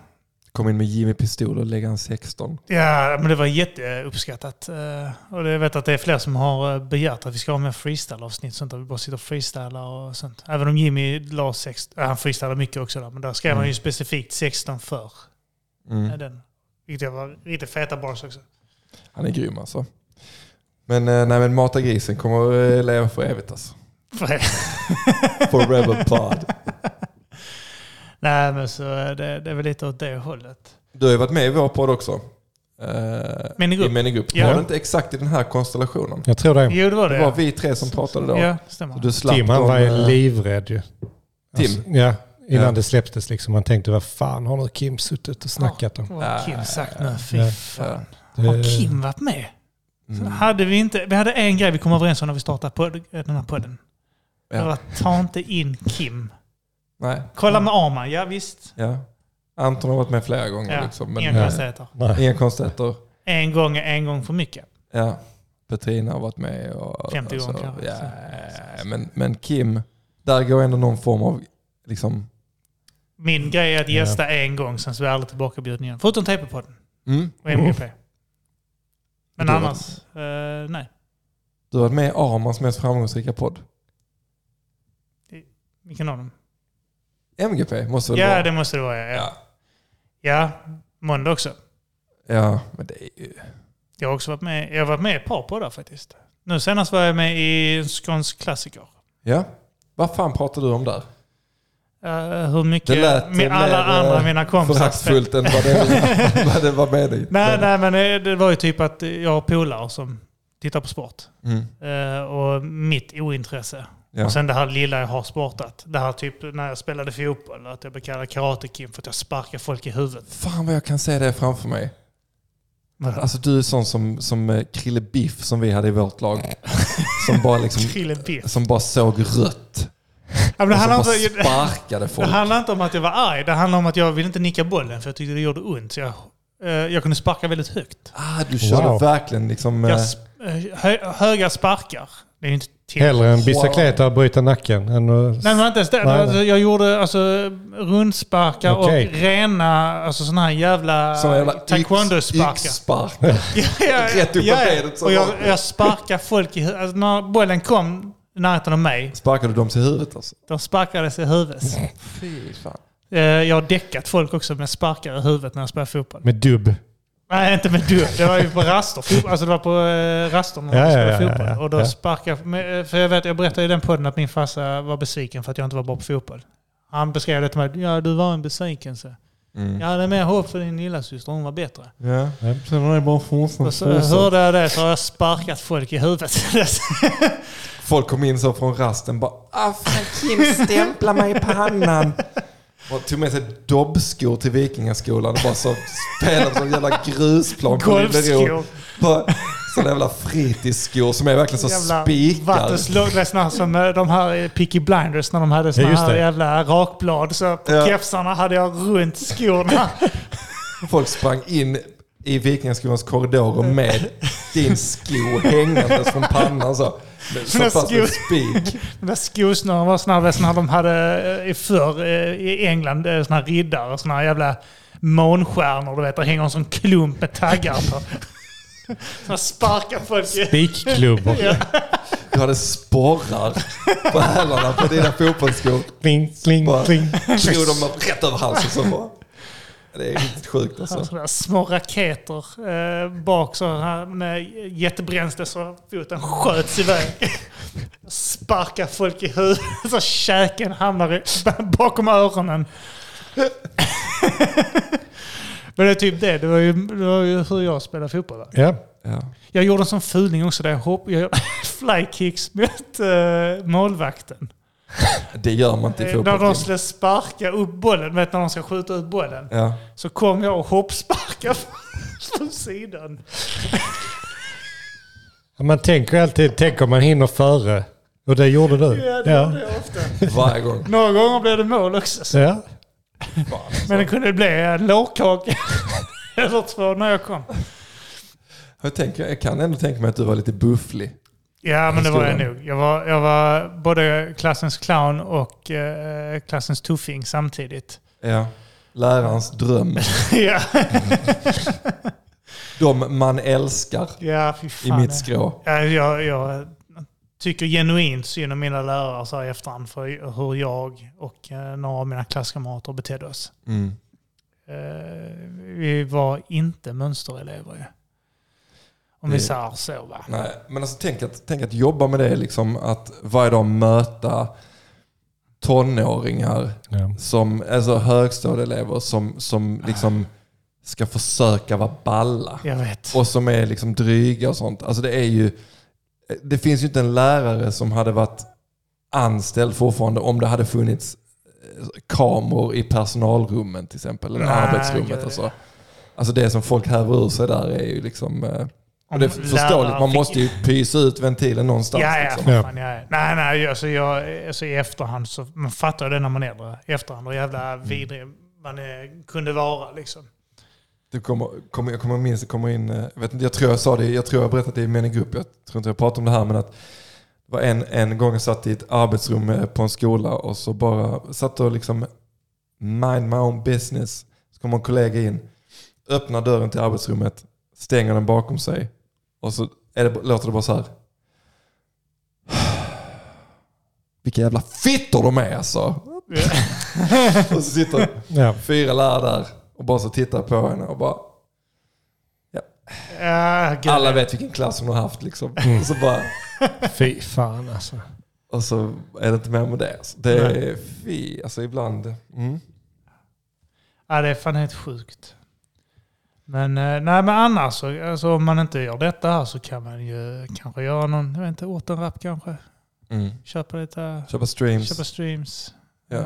[SPEAKER 3] Kom in med Jimmy Pistol och lägga en 16.
[SPEAKER 1] Ja, men det var jätteuppskattat. Eh, Och det- jag vet att det är fler som har eh, begärt att vi ska ha med freestyle-avsnitt, sånt där vi bara sitter och freestylar och sånt. Även om Jimmy la 16, äh, han freestylar mycket också där, men där skrev
[SPEAKER 3] Mm.
[SPEAKER 1] han ju specifikt 16 för eh,
[SPEAKER 3] Mm.
[SPEAKER 1] den. Vilket jag var riktigt feta bars också.
[SPEAKER 3] Han är grym alltså. Men, eh, nej, men Mata grisen kommer eh, leva för evigt alltså. Forever pod.
[SPEAKER 1] Nej, men så eh, det, det är väl lite åt det hållet.
[SPEAKER 3] Du har ju varit med i vår podd också. Eh,
[SPEAKER 1] Minigrupp.
[SPEAKER 3] I Minigrupp.
[SPEAKER 1] Ja.
[SPEAKER 3] Var det inte exakt i den här konstellationen?
[SPEAKER 2] Jag tror det.
[SPEAKER 1] Jo, det var
[SPEAKER 3] Det
[SPEAKER 1] det.
[SPEAKER 3] var vi tre som pratade då.
[SPEAKER 1] Ja,
[SPEAKER 3] Så
[SPEAKER 1] stämmer.
[SPEAKER 3] du slapp
[SPEAKER 2] Tim han
[SPEAKER 3] de,
[SPEAKER 2] var ju
[SPEAKER 3] eh,
[SPEAKER 2] livrädd ju. Alltså,
[SPEAKER 3] Tim?
[SPEAKER 2] ja, innan
[SPEAKER 3] Ja.
[SPEAKER 2] det släpptes liksom. Man tänkte vad fan har nu Kim suttit och snackat om?
[SPEAKER 1] Vad har Kim sagt nu? Fy
[SPEAKER 2] Ja.
[SPEAKER 1] fan.
[SPEAKER 2] Eh,
[SPEAKER 1] Har Kim varit med?
[SPEAKER 3] Mm.
[SPEAKER 1] Hade vi, inte, vi hade en grej vi kom överens om när vi startade podd, den här podden. Det
[SPEAKER 3] Ja.
[SPEAKER 1] var ta inte in Kim.
[SPEAKER 3] Nej.
[SPEAKER 1] Kolla med Arman, ja visst.
[SPEAKER 3] Ja. Anton har varit med flera gånger.
[SPEAKER 1] Ja.
[SPEAKER 3] Liksom, men,
[SPEAKER 1] Inga
[SPEAKER 3] eh,
[SPEAKER 1] konstigheter.
[SPEAKER 2] nej.
[SPEAKER 3] inga konstigheter.
[SPEAKER 1] En gång är en gång för mycket.
[SPEAKER 3] Ja. Petrina har varit med. Och, alltså,
[SPEAKER 1] 50
[SPEAKER 3] och så-
[SPEAKER 1] gånger kanske.
[SPEAKER 3] ja. men, men Kim, där går ändå någon form av liksom,
[SPEAKER 1] Min grej är att gästa en gång, sen så är jag aldrig tillbakabjuden igen. Förutom TP-podden
[SPEAKER 3] Mm.
[SPEAKER 1] och MGP. Men
[SPEAKER 3] Du har
[SPEAKER 1] annars, eh, nej.
[SPEAKER 3] Du har varit med i Armans mest framgångsrika podd.
[SPEAKER 1] Vilken av dem?
[SPEAKER 3] MGP måste väl
[SPEAKER 1] Ja,
[SPEAKER 3] vara?
[SPEAKER 1] det måste det vara. Ja.
[SPEAKER 3] Ja.
[SPEAKER 1] Ja. ja, måndag också.
[SPEAKER 3] ja, men det är ju...
[SPEAKER 1] Jag har också varit med, jag har varit med i ett par poddar faktiskt. Nu senast var jag med i Skånsk klassiker.
[SPEAKER 3] Ja. Vad fan pratar du om där?
[SPEAKER 1] Eh, hur mycket
[SPEAKER 3] Det lät
[SPEAKER 1] med alla
[SPEAKER 3] mer, eh,
[SPEAKER 1] andra mina kompisar...
[SPEAKER 3] Föraktfullt än vad det, vad det var meningen.
[SPEAKER 1] Nej, nej, men eh, det var ju typ att jag har polare som tittar på sport.
[SPEAKER 3] Mm.
[SPEAKER 1] Eh, och mitt ointresse.
[SPEAKER 3] Ja.
[SPEAKER 1] Och sen det här lilla jag har sportat. Det här typ när jag spelade fotboll, att jag blev kallad Karate Kid för att jag sparkar folk i huvudet.
[SPEAKER 3] Fan vad jag kan se det framför mig.
[SPEAKER 1] Vadå?
[SPEAKER 3] Alltså du är sån som, som eh, Krille Biff som vi hade i vårt lag. Som bara, liksom,
[SPEAKER 1] Krille Biff.
[SPEAKER 3] som bara såg rött.
[SPEAKER 1] Ja, men
[SPEAKER 3] Och
[SPEAKER 1] det
[SPEAKER 3] som
[SPEAKER 1] handlar
[SPEAKER 3] bara
[SPEAKER 1] inte-
[SPEAKER 3] sparkade folk.
[SPEAKER 1] Det handlar inte om att jag var arg. Det handlar om att jag ville inte nicka bollen för jag tyckte det gjorde ont. Så jag, eh, jag kunde sparka väldigt högt.
[SPEAKER 3] Ah, du körde
[SPEAKER 2] Wow.
[SPEAKER 3] verkligen liksom... eh,
[SPEAKER 1] Jag, sp- eh, hö, höga sparkar. Det är ju inte till.
[SPEAKER 2] Hellre en bicicleta och bryta nacken än att...
[SPEAKER 1] Nej, men inte ens det.
[SPEAKER 2] Nej,
[SPEAKER 1] Alltså, jag gjorde alltså, rundsparkar
[SPEAKER 2] Okej.
[SPEAKER 1] och rena alltså, sådana här jävla,
[SPEAKER 3] Sån jävla yx-
[SPEAKER 1] taekwondo-sparkar.
[SPEAKER 3] yxspark.
[SPEAKER 1] Ja, ja,
[SPEAKER 3] Rätt upp på benet så
[SPEAKER 1] Och jag,
[SPEAKER 3] rakt ner.
[SPEAKER 1] jag sparkade folk i huvudet. Alltså, när bollen kom i närheten av mig,
[SPEAKER 3] Sparkade du dem till huvudet alltså?
[SPEAKER 1] de sparkades i huvudet.
[SPEAKER 3] Fy fan.
[SPEAKER 1] Eh, Jag har däckat folk också med sparkar i huvudet när jag spelar fotboll.
[SPEAKER 2] Med dubb.
[SPEAKER 1] Nej, inte med dubb. Det var ju på raster. Fotboll- Alltså det var på eh, rasterna när
[SPEAKER 2] Ja,
[SPEAKER 1] vi
[SPEAKER 2] ja,
[SPEAKER 1] spelade
[SPEAKER 2] ja,
[SPEAKER 1] fotboll.
[SPEAKER 2] ja, ja.
[SPEAKER 1] Och då
[SPEAKER 2] Ja.
[SPEAKER 1] sparkade jag- men, eh, För jag vet, jag berättade i den podden att min farsa var besviken för att jag inte var bra på fotboll. Han beskrev det till mig. Ja, du var en besvikelse.
[SPEAKER 3] Mm.
[SPEAKER 1] Jag hade mer hopp för din lillasyster. Hon var bättre.
[SPEAKER 3] Ja. Sen är det bara
[SPEAKER 1] Och så hörde jag det så har jag sparkat folk i huvudet.
[SPEAKER 3] Folk kom in så från rasten bara ah, fan Kim stämpla mig i pannan. Och tog med sig dobbskor till Vikingaskolan och bara så spelade på sån jävla grusplan på Lillero.
[SPEAKER 1] Golfskor.
[SPEAKER 3] På Sådana jävla fritidsskor som är verkligen så
[SPEAKER 1] Jävla
[SPEAKER 3] spikar.
[SPEAKER 1] vattenslå- Det är såna här som eh, de här eh, Peaky Blinders när de hade såna
[SPEAKER 2] Ja, just
[SPEAKER 1] här
[SPEAKER 2] det.
[SPEAKER 1] jävla rakblad. Så på
[SPEAKER 3] Ja.
[SPEAKER 1] kepsarna hade jag runt skorna.
[SPEAKER 3] Folk sprang in i Vikingaskolans korridorer med din sko hängandes från pannan så. Med-
[SPEAKER 1] Mina
[SPEAKER 3] Satt fast med
[SPEAKER 1] skor.
[SPEAKER 3] spik.
[SPEAKER 1] De där skosnörena var såna här väl såna här de hade eh, i förr eh, i England, eh, såna här riddare, såna här jävla månstjärnor, du vet, där hänger en sån klump med taggar på. Man sparkar folk i...
[SPEAKER 2] Spikklubbor.
[SPEAKER 1] Ja.
[SPEAKER 3] Du hade sporrar på hälarna på dina fotbollsskor.
[SPEAKER 2] Kling, kling,
[SPEAKER 3] Bara-
[SPEAKER 2] kling.
[SPEAKER 3] Slog dem rätt över halsen så bara. Det är riktigt sjukt alltså.
[SPEAKER 1] Sådana där små raketer eh, bak så här med jättebränsle så foten sköts iväg. Sparkar folk i huvudet så käken hamnar i, bakom öronen. Men det är typ det. Det var ju, det var ju hur jag spelar fotboll. Va?
[SPEAKER 2] Ja.
[SPEAKER 3] Ja.
[SPEAKER 1] Jag gjorde en sån fuling också där jag hoppade. Jag gjorde flykicks mot eh, målvakten.
[SPEAKER 3] Det gör man inte i
[SPEAKER 1] Eh, När de
[SPEAKER 3] fotboll.
[SPEAKER 1] skulle sparka upp bollen, vet när de ska skjuta ut bollen.
[SPEAKER 3] Ja.
[SPEAKER 1] Så kom jag och hoppsparkade från sidan.
[SPEAKER 2] Man tänker alltid, tänk om man hinner före. Och det gjorde du.
[SPEAKER 1] Ja, det gjorde jag ofta.
[SPEAKER 3] Varje gång.
[SPEAKER 1] Några gånger blev det mål också. Så.
[SPEAKER 2] Ja.
[SPEAKER 1] Men det kunde bli en lågkaka eller två när jag kom.
[SPEAKER 3] Jag, tänker, jag kan ändå tänka mig att du var lite bufflig.
[SPEAKER 1] Ja, men det var jag
[SPEAKER 3] Stora.
[SPEAKER 1] nog. Jag var, jag var både klassens clown och eh, klassens tuffing samtidigt.
[SPEAKER 3] Ja. Lärarens dröm.
[SPEAKER 1] ja.
[SPEAKER 3] De man älskar
[SPEAKER 1] ja, fy
[SPEAKER 3] i
[SPEAKER 1] fan. eh.
[SPEAKER 3] mitt skrå.
[SPEAKER 1] Ja, jag, jag tycker genuint synd om mina lärare så här i efterhand för hur jag och eh, några av mina klasskamrater betedde oss.
[SPEAKER 3] Mm.
[SPEAKER 1] Eh, vi var inte mönsterelever ju. Om
[SPEAKER 3] Det-
[SPEAKER 1] vi säger så va.
[SPEAKER 3] Nej, men alltså tänk att, tänk att jobba med det liksom. Att varje dag möta tonåringar
[SPEAKER 2] Ja.
[SPEAKER 3] som, alltså högstadieelever som, som liksom ska försöka vara balla.
[SPEAKER 1] Jag vet.
[SPEAKER 3] och som är liksom dryga och sånt. Alltså det är ju, det finns ju inte en lärare som hade varit anställd fortfarande om det hade funnits eh, kameror i personalrummen till exempel, eller
[SPEAKER 1] Nej,
[SPEAKER 3] arbetsrummet
[SPEAKER 1] gud.
[SPEAKER 3] och så. Alltså det som folk häver ur sig där är ju liksom, eh, och
[SPEAKER 1] Om
[SPEAKER 3] det är förståeligt,
[SPEAKER 1] lärare
[SPEAKER 3] man
[SPEAKER 1] fick-
[SPEAKER 3] måste ju pysa ut ventilen någonstans.
[SPEAKER 1] Ja, ja,
[SPEAKER 3] liksom.
[SPEAKER 1] för fan, ja. ja. Nej, nej, alltså, jag, alltså i efterhand så man fattar det när man är äldre. I efterhand och jävla
[SPEAKER 3] Mm.
[SPEAKER 1] vidrig man eh, kunde vara liksom.
[SPEAKER 3] Du kommer, kommer, jag kommer minst, det kommer in, eh, jag vet inte, jag tror jag sa det, jag tror jag berättade det i min grupp, jag tror inte jag pratade om det här, men att det var en, en gång jag satt i ett arbetsrum eh, på en skola och så bara satt och liksom mind my own business. Så kommer en kollega in, öppnar dörren till arbetsrummet, stänger den bakom sig och så är det, låter det bara så här. Vilka jävla fittor de är alltså! och så sitter
[SPEAKER 2] Ja.
[SPEAKER 3] fyra lärare där och bara så tittar på henne och bara
[SPEAKER 1] Ah, gud.
[SPEAKER 3] alla vet vilken klass hon har haft liksom. Och så bara
[SPEAKER 2] Fy fan alltså.
[SPEAKER 3] Och så är det inte mer med det. Alltså. Det är fy, alltså ibland. Mm.
[SPEAKER 1] Ja, det är fan helt sjukt. Men, eh, nej, men annars, så- alltså, om man inte gör detta här så kan man ju kanske göra någon, jag vet inte, åt en rap kanske.
[SPEAKER 3] Mm.
[SPEAKER 1] Köpa lite,
[SPEAKER 3] Köpa streams.
[SPEAKER 1] köpa streams.
[SPEAKER 3] Ja.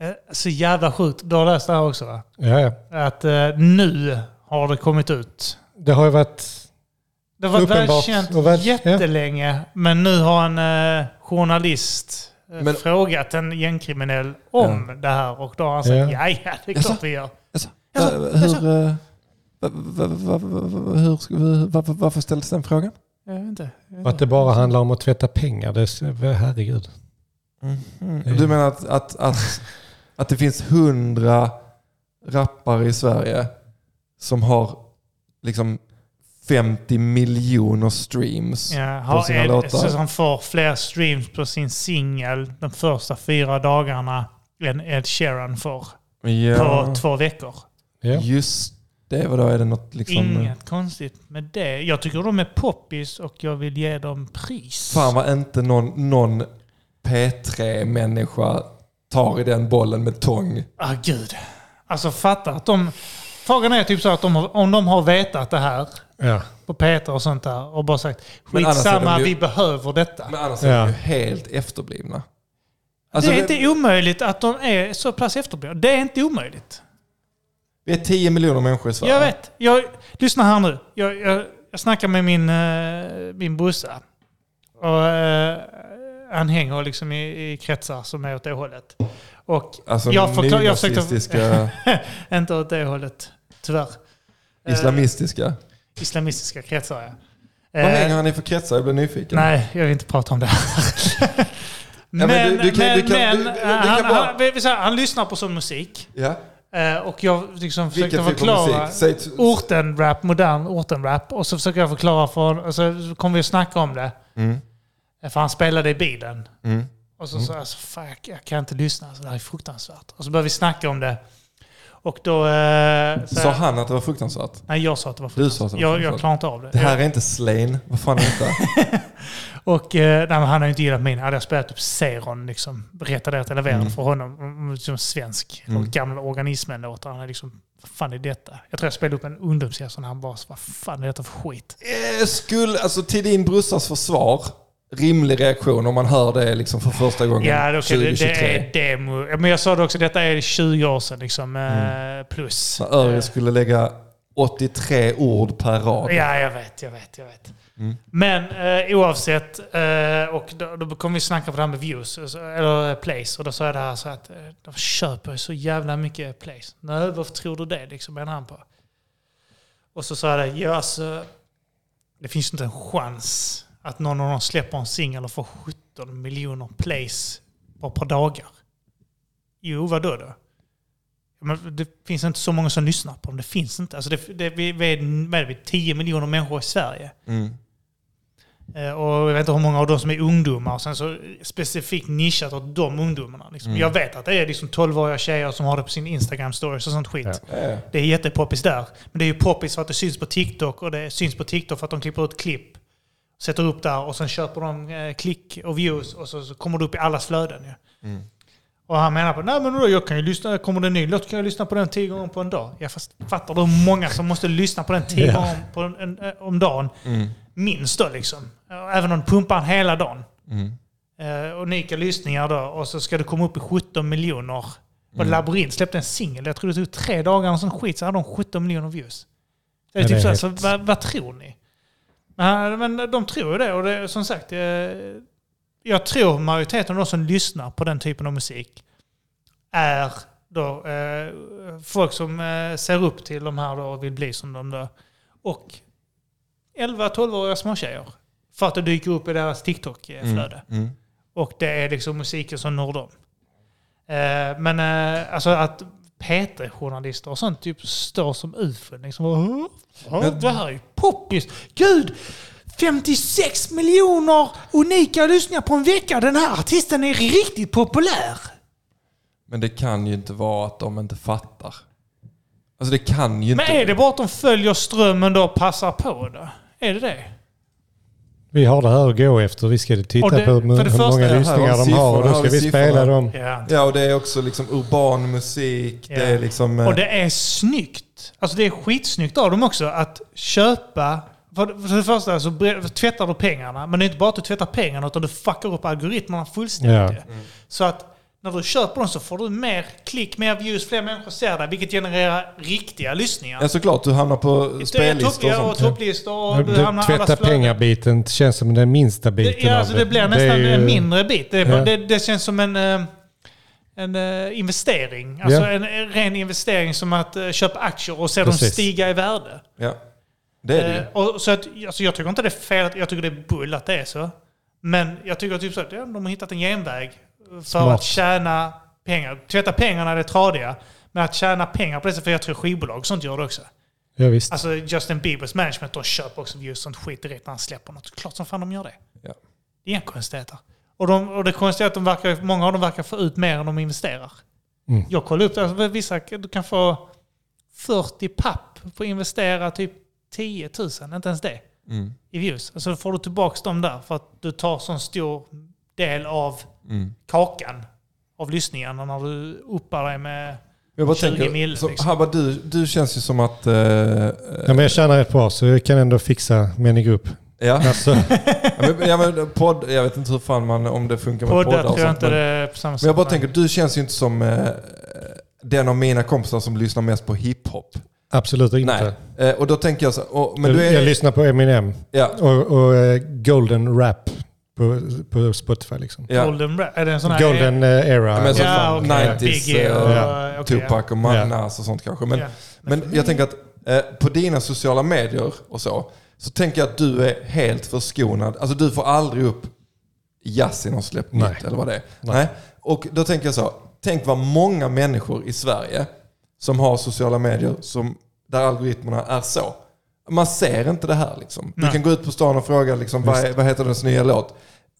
[SPEAKER 1] Eh, Så jävla sjukt. Du har läst det här också va?
[SPEAKER 2] Ja, ja.
[SPEAKER 1] Att eh, nu har det kommit ut.
[SPEAKER 2] Det har ju varit...
[SPEAKER 1] Det var
[SPEAKER 2] Uppenbart.
[SPEAKER 1] välkänt
[SPEAKER 2] Och väl- ja.
[SPEAKER 1] jättelänge, men nu har en eh, journalist eh,
[SPEAKER 3] Men-
[SPEAKER 1] frågat en gängkriminell om det här och då har han sagt ja, ja, det är
[SPEAKER 3] Jaså?
[SPEAKER 1] klart vi gör.
[SPEAKER 3] Alltså,
[SPEAKER 1] Alltså,
[SPEAKER 3] eh,
[SPEAKER 1] alltså.
[SPEAKER 3] hur, eh, va- va- va- va- va- hur ska vi- varför- varför ställdes den frågan?
[SPEAKER 1] Jag vet inte. Jag vet
[SPEAKER 2] Och att det bara handlar om att tvätta pengar. Det är, herregud.
[SPEAKER 3] Mm. Du menar att, att, att, att det finns hundra rappare i Sverige som har liksom 50 miljoner streams?
[SPEAKER 1] Ja,
[SPEAKER 3] på
[SPEAKER 1] har
[SPEAKER 3] sina
[SPEAKER 1] en,
[SPEAKER 3] låtar.
[SPEAKER 1] så han får fler streams på sin singel de första fyra dagarna än Ed Sheeran får på
[SPEAKER 3] Ja.
[SPEAKER 1] två veckor.
[SPEAKER 2] Ja.
[SPEAKER 3] Just det, vadå är det något liksom?
[SPEAKER 1] Inget konstigt med det. Jag tycker de är poppis och jag vill ge dem pris.
[SPEAKER 3] Fan vad inte någon, någon P3-människa tar i den bollen med tång.
[SPEAKER 1] Ah, gud. Alltså fatta att de... Frågan är typ så att de, har- om de har vetat det här
[SPEAKER 2] Ja.
[SPEAKER 1] på Peter och sånt där och bara sagt
[SPEAKER 3] Men annars är de
[SPEAKER 1] skitsamma,
[SPEAKER 3] ju-
[SPEAKER 1] vi behöver detta.
[SPEAKER 3] Men annars är
[SPEAKER 2] Ja.
[SPEAKER 3] de ju helt efterblivna. Alltså,
[SPEAKER 1] det är
[SPEAKER 3] vi-
[SPEAKER 1] inte omöjligt att de är så pass efterblivna. Det är inte omöjligt.
[SPEAKER 3] Vi är 10 miljoner människor i Sverige.
[SPEAKER 1] Jag vet. Jag, lyssna här nu. Jag, jag, jag snackar med min, eh, min brorsa. Och, eh, han hänger liksom i, i kretsar som är åt det hållet. Och
[SPEAKER 3] Alltså
[SPEAKER 1] jag, förklar, jag försökte...
[SPEAKER 3] nynazistiska,
[SPEAKER 1] inte åt det hållet, tyvärr. Eh,
[SPEAKER 3] islamistiska.
[SPEAKER 1] islamistiska kretsar, ja.
[SPEAKER 3] Vad
[SPEAKER 1] Eh,
[SPEAKER 3] hänger han i för kretsar? Jag blir nyfiken.
[SPEAKER 1] Nej, jag vill inte prata om det här.
[SPEAKER 3] men
[SPEAKER 1] Men,
[SPEAKER 3] du- du kan-
[SPEAKER 1] men,
[SPEAKER 3] du kan-
[SPEAKER 1] men, eh,
[SPEAKER 3] du- du- du kan
[SPEAKER 1] han,
[SPEAKER 3] bara-
[SPEAKER 1] han, vi- vi säger, han lyssnar på sån musik.
[SPEAKER 3] Ja.
[SPEAKER 1] eh, Och jag liksom försökte
[SPEAKER 3] Vilken typ av
[SPEAKER 1] förklara.
[SPEAKER 3] musik? Säg t-
[SPEAKER 1] ortenrap, modern ortenrap. Och så försöker jag förklara för honom. Och så kom vi att snacka om det.
[SPEAKER 3] Mm.
[SPEAKER 1] För han spelade i bilen.
[SPEAKER 3] Mm.
[SPEAKER 1] Och så sa jag, alltså, fan, jag- jag kan inte lyssna. Så det här är fruktansvärt. Och så började vi snacka om det. Och då... Eh, så
[SPEAKER 3] Sa han att det var fruktansvärt?
[SPEAKER 1] Nej, jag sa att det var
[SPEAKER 3] Du
[SPEAKER 1] fruktansvärt.
[SPEAKER 3] sa att det var
[SPEAKER 1] Jag, jag
[SPEAKER 3] fruktansvärt?
[SPEAKER 1] klarar inte av det.
[SPEAKER 3] Det här är inte Slain. Vad fan är detta?
[SPEAKER 1] Och eh, nej, men han har ju inte gillat min. Hade jag spelat upp Seron, liksom, retarderat eller mm. för honom, mm, som svensk,
[SPEAKER 3] Mm.
[SPEAKER 1] och gamla organismen-låtar. Han är liksom, vad fan är detta? Jag tror jag spelade upp en ungdomsgäst och han bara, så, vad fan är detta för skit?
[SPEAKER 3] Eh, Skulle, alltså till din brorsas försvar, rimlig reaktion om man hör det liksom för första gången
[SPEAKER 1] Ja, det, okay, det,
[SPEAKER 3] 2023.
[SPEAKER 1] det är demo. Ja, Men jag sa det också, detta är 20 år sedan liksom, eh, plus.
[SPEAKER 3] När Örje skulle lägga 83 ord per rad.
[SPEAKER 1] Ja, jag vet, jag vet, jag vet. Men eh, oavsett, eh, och då, då kom vi snacka på det här med views, alltså, eller eh, plays, och då sa jag det här så att eh, de köper ju så jävla mycket plays. Nej, varför tror du det liksom, menar han på. Och så sa jag det, ja alltså, det finns ju inte en chans att någon av dem släpper en singel och får 17 miljoner plays på ett par dagar. Jo, vadå då? Ja, Men det finns inte så många som lyssnar på dem. Det finns inte. Alltså det, det, vi, vi är, vad är vi, 10 miljoner människor i Sverige.
[SPEAKER 3] Mm.
[SPEAKER 1] Eh, Och jag vet inte hur många av dem som är ungdomar. Och sen så specifikt nischat åt de ungdomarna. Liksom. Jag vet att det är liksom 12-åriga tjejer som har det på sin Instagram-stories och sånt skit.
[SPEAKER 2] Ja.
[SPEAKER 3] Eh,
[SPEAKER 1] Det är jättepoppis där. Men det är ju poppis för att det syns på TikTok och det syns på TikTok för att de klipper ut klipp. Sätter upp där och sen köper de eh, klick och views och så, så kommer det upp i allas flöden. Ja. Och han menar på nej men då, jag kan ju lyssna, kommer det en ny låt kan jag lyssna på den tio gånger på en dag. Jag fast fattar du hur många som måste lyssna på den tio
[SPEAKER 2] Ja.
[SPEAKER 1] gånger på en, en, eh, om dagen?
[SPEAKER 3] Mm.
[SPEAKER 1] Minst då liksom. Även om de pumpar den hela dagen.
[SPEAKER 3] Mm.
[SPEAKER 1] Eh, unika lyssningar då och så ska det komma upp i 17 miljoner. Och
[SPEAKER 2] Mm.
[SPEAKER 1] Labyrint släppte en singel, jag tror det tog tre dagar och sån skit, så hade de 17 miljoner views. Det är
[SPEAKER 2] Ja,
[SPEAKER 1] typ
[SPEAKER 2] det
[SPEAKER 1] så,
[SPEAKER 2] är
[SPEAKER 1] här, så
[SPEAKER 2] helt-
[SPEAKER 1] vad, vad tror ni? Ja, Men de tror ju det och det, som sagt, eh, jag tror majoriteten av de som lyssnar på den typen av musik är då, eh, folk som eh, ser upp till de här då och vill bli som de då. Och 11-12-åriga småtjejer. För att det dyker upp i deras TikTok-flöde.
[SPEAKER 3] Mm.
[SPEAKER 1] Och det är liksom musiken som når dem. Eh, men eh, alltså att PT-journalister och sånt typ står som ufon. Liksom, "Åh, fan, det här är ju poppis. Gud! 56 miljoner unika lyssningar på en vecka. Den här artisten är riktigt populär.
[SPEAKER 3] Men det kan ju inte vara att de inte fattar. Alltså det kan ju
[SPEAKER 1] Men
[SPEAKER 3] inte.
[SPEAKER 1] är det bara att de följer strömmen då och passar på det? Är det det?
[SPEAKER 2] Vi har det här att gå efter. Vi ska titta
[SPEAKER 1] Och det-
[SPEAKER 2] på hur,
[SPEAKER 1] för det första-
[SPEAKER 2] hur många
[SPEAKER 1] här har
[SPEAKER 2] lyssningar de
[SPEAKER 3] siffrorna,
[SPEAKER 2] har och då
[SPEAKER 3] här
[SPEAKER 2] ska
[SPEAKER 3] har
[SPEAKER 2] vi
[SPEAKER 3] siffrorna.
[SPEAKER 2] spela dem.
[SPEAKER 1] Ja.
[SPEAKER 3] Ja, och det är också liksom urban musik.
[SPEAKER 1] Ja.
[SPEAKER 3] Det är liksom... eh,
[SPEAKER 1] Och det är snyggt. Alltså det är skitsnyggt av dem också att köpa. För för det första så bre- tvättar du pengarna. Men det är inte bara att du tvättar pengarna utan du fuckar upp algoritmerna fullständigt. Så att när du köper dem så får du mer klick, mer views, fler människor ser dig. Vilket genererar riktiga lyssningar.
[SPEAKER 3] Ja, såklart. Du hamnar på
[SPEAKER 1] Det är
[SPEAKER 3] spellistor och
[SPEAKER 1] topplistor och
[SPEAKER 3] sånt.
[SPEAKER 1] topplistor. Och du
[SPEAKER 2] Det,
[SPEAKER 1] hamnar i
[SPEAKER 2] tvätta
[SPEAKER 1] allas flöden.
[SPEAKER 2] pengabiten känns som den minsta biten
[SPEAKER 1] Det, ja, alltså
[SPEAKER 2] av
[SPEAKER 1] det blir nästan
[SPEAKER 2] är ju-
[SPEAKER 1] en mindre bit. Det, är bara-
[SPEAKER 2] Ja.
[SPEAKER 1] det, det känns som en, eh, en eh, investering. Alltså
[SPEAKER 2] Ja.
[SPEAKER 1] en, en ren investering som att eh, köpa aktier och se dem
[SPEAKER 2] Precis.
[SPEAKER 1] stiga i värde.
[SPEAKER 3] Ja. Det är det ju.
[SPEAKER 1] Eh, och, så att, alltså, jag tycker inte det är fel, att- jag tycker det är bull att det är så. Men jag tycker typ så att ja, de har hittat en genväg för
[SPEAKER 2] Smart.
[SPEAKER 1] att tjäna pengar. Tvätta pengarna det är tradiga, men att tjäna pengar på det sättet, för jag tror skivbolag och sånt gör det också.
[SPEAKER 2] Ja, visst.
[SPEAKER 1] Alltså Justin Biebers management, de köper också views och sånt skit direkt när han släpper något. Klart som fan de gör det.
[SPEAKER 3] Ja.
[SPEAKER 1] Det är inga konstigheter. Och, de, och det konstiga är att de verkar, många av dem verkar få ut mer än de investerar.
[SPEAKER 2] Mm.
[SPEAKER 1] Jag kollade upp det. Alltså, vissa du kan få 40 papp på att investera typ 10 000, inte ens det,
[SPEAKER 3] Mm.
[SPEAKER 1] i views. Alltså då får du tillbaka dem där för att du tar sån stor del av
[SPEAKER 3] Mm.
[SPEAKER 1] kakan av lyssningarna när du uppar dig med...
[SPEAKER 3] Jag bara
[SPEAKER 1] 20
[SPEAKER 3] tänker,
[SPEAKER 1] mil,
[SPEAKER 3] så,
[SPEAKER 1] liksom.
[SPEAKER 3] Habba, du, du känns ju som att... eh, eh,
[SPEAKER 2] Ja, men jag tjänar rätt bra så jag kan ändå fixa män i grupp.
[SPEAKER 3] ja.
[SPEAKER 2] Alltså,
[SPEAKER 3] Ja, men, ja, men podd, jag vet inte hur fan man, om det funkar med poddar,
[SPEAKER 1] Poddar
[SPEAKER 3] och
[SPEAKER 1] tror jag
[SPEAKER 3] sånt,
[SPEAKER 1] inte
[SPEAKER 3] men,
[SPEAKER 1] det är på samma sätt.
[SPEAKER 3] men jag bara
[SPEAKER 1] Nej.
[SPEAKER 3] tänker, du känns ju inte som eh, den av mina kompisar som lyssnar mest på hiphop.
[SPEAKER 2] absolut inte.
[SPEAKER 3] Nej. Eh, och då tänker jag så och, men
[SPEAKER 2] Jag,
[SPEAKER 3] du
[SPEAKER 2] jag
[SPEAKER 3] är,
[SPEAKER 2] lyssnar på Eminem
[SPEAKER 3] ja,
[SPEAKER 2] och, och eh, Golden Rap på, på Spotify. Liksom.
[SPEAKER 3] ja.
[SPEAKER 1] Golden Rap? Är det en sån här... e-
[SPEAKER 2] Golden eh, Era.
[SPEAKER 3] Ja, men så
[SPEAKER 1] Ja,
[SPEAKER 3] Alltså, fan,
[SPEAKER 1] okej.
[SPEAKER 3] 90s,
[SPEAKER 1] Biggie och...
[SPEAKER 2] ja.
[SPEAKER 1] okej, ja.
[SPEAKER 3] Tupac och Manas och sånt kanske. Men,
[SPEAKER 1] Ja.
[SPEAKER 3] men jag tänker att eh, på dina sociala medier och så, så tänker jag att du är helt förskonad. Alltså du får aldrig upp Yasin har släppt
[SPEAKER 2] Nej.
[SPEAKER 3] nytt eller vad det är.
[SPEAKER 2] Nej.
[SPEAKER 3] Nej. Och då tänker jag så, tänk vad många människor i Sverige som har sociala medier som, där algoritmerna är så. Man ser inte det här liksom. Du
[SPEAKER 1] Nej.
[SPEAKER 3] kan gå ut på stan och fråga liksom, vad, är- vad heter dess nya låt.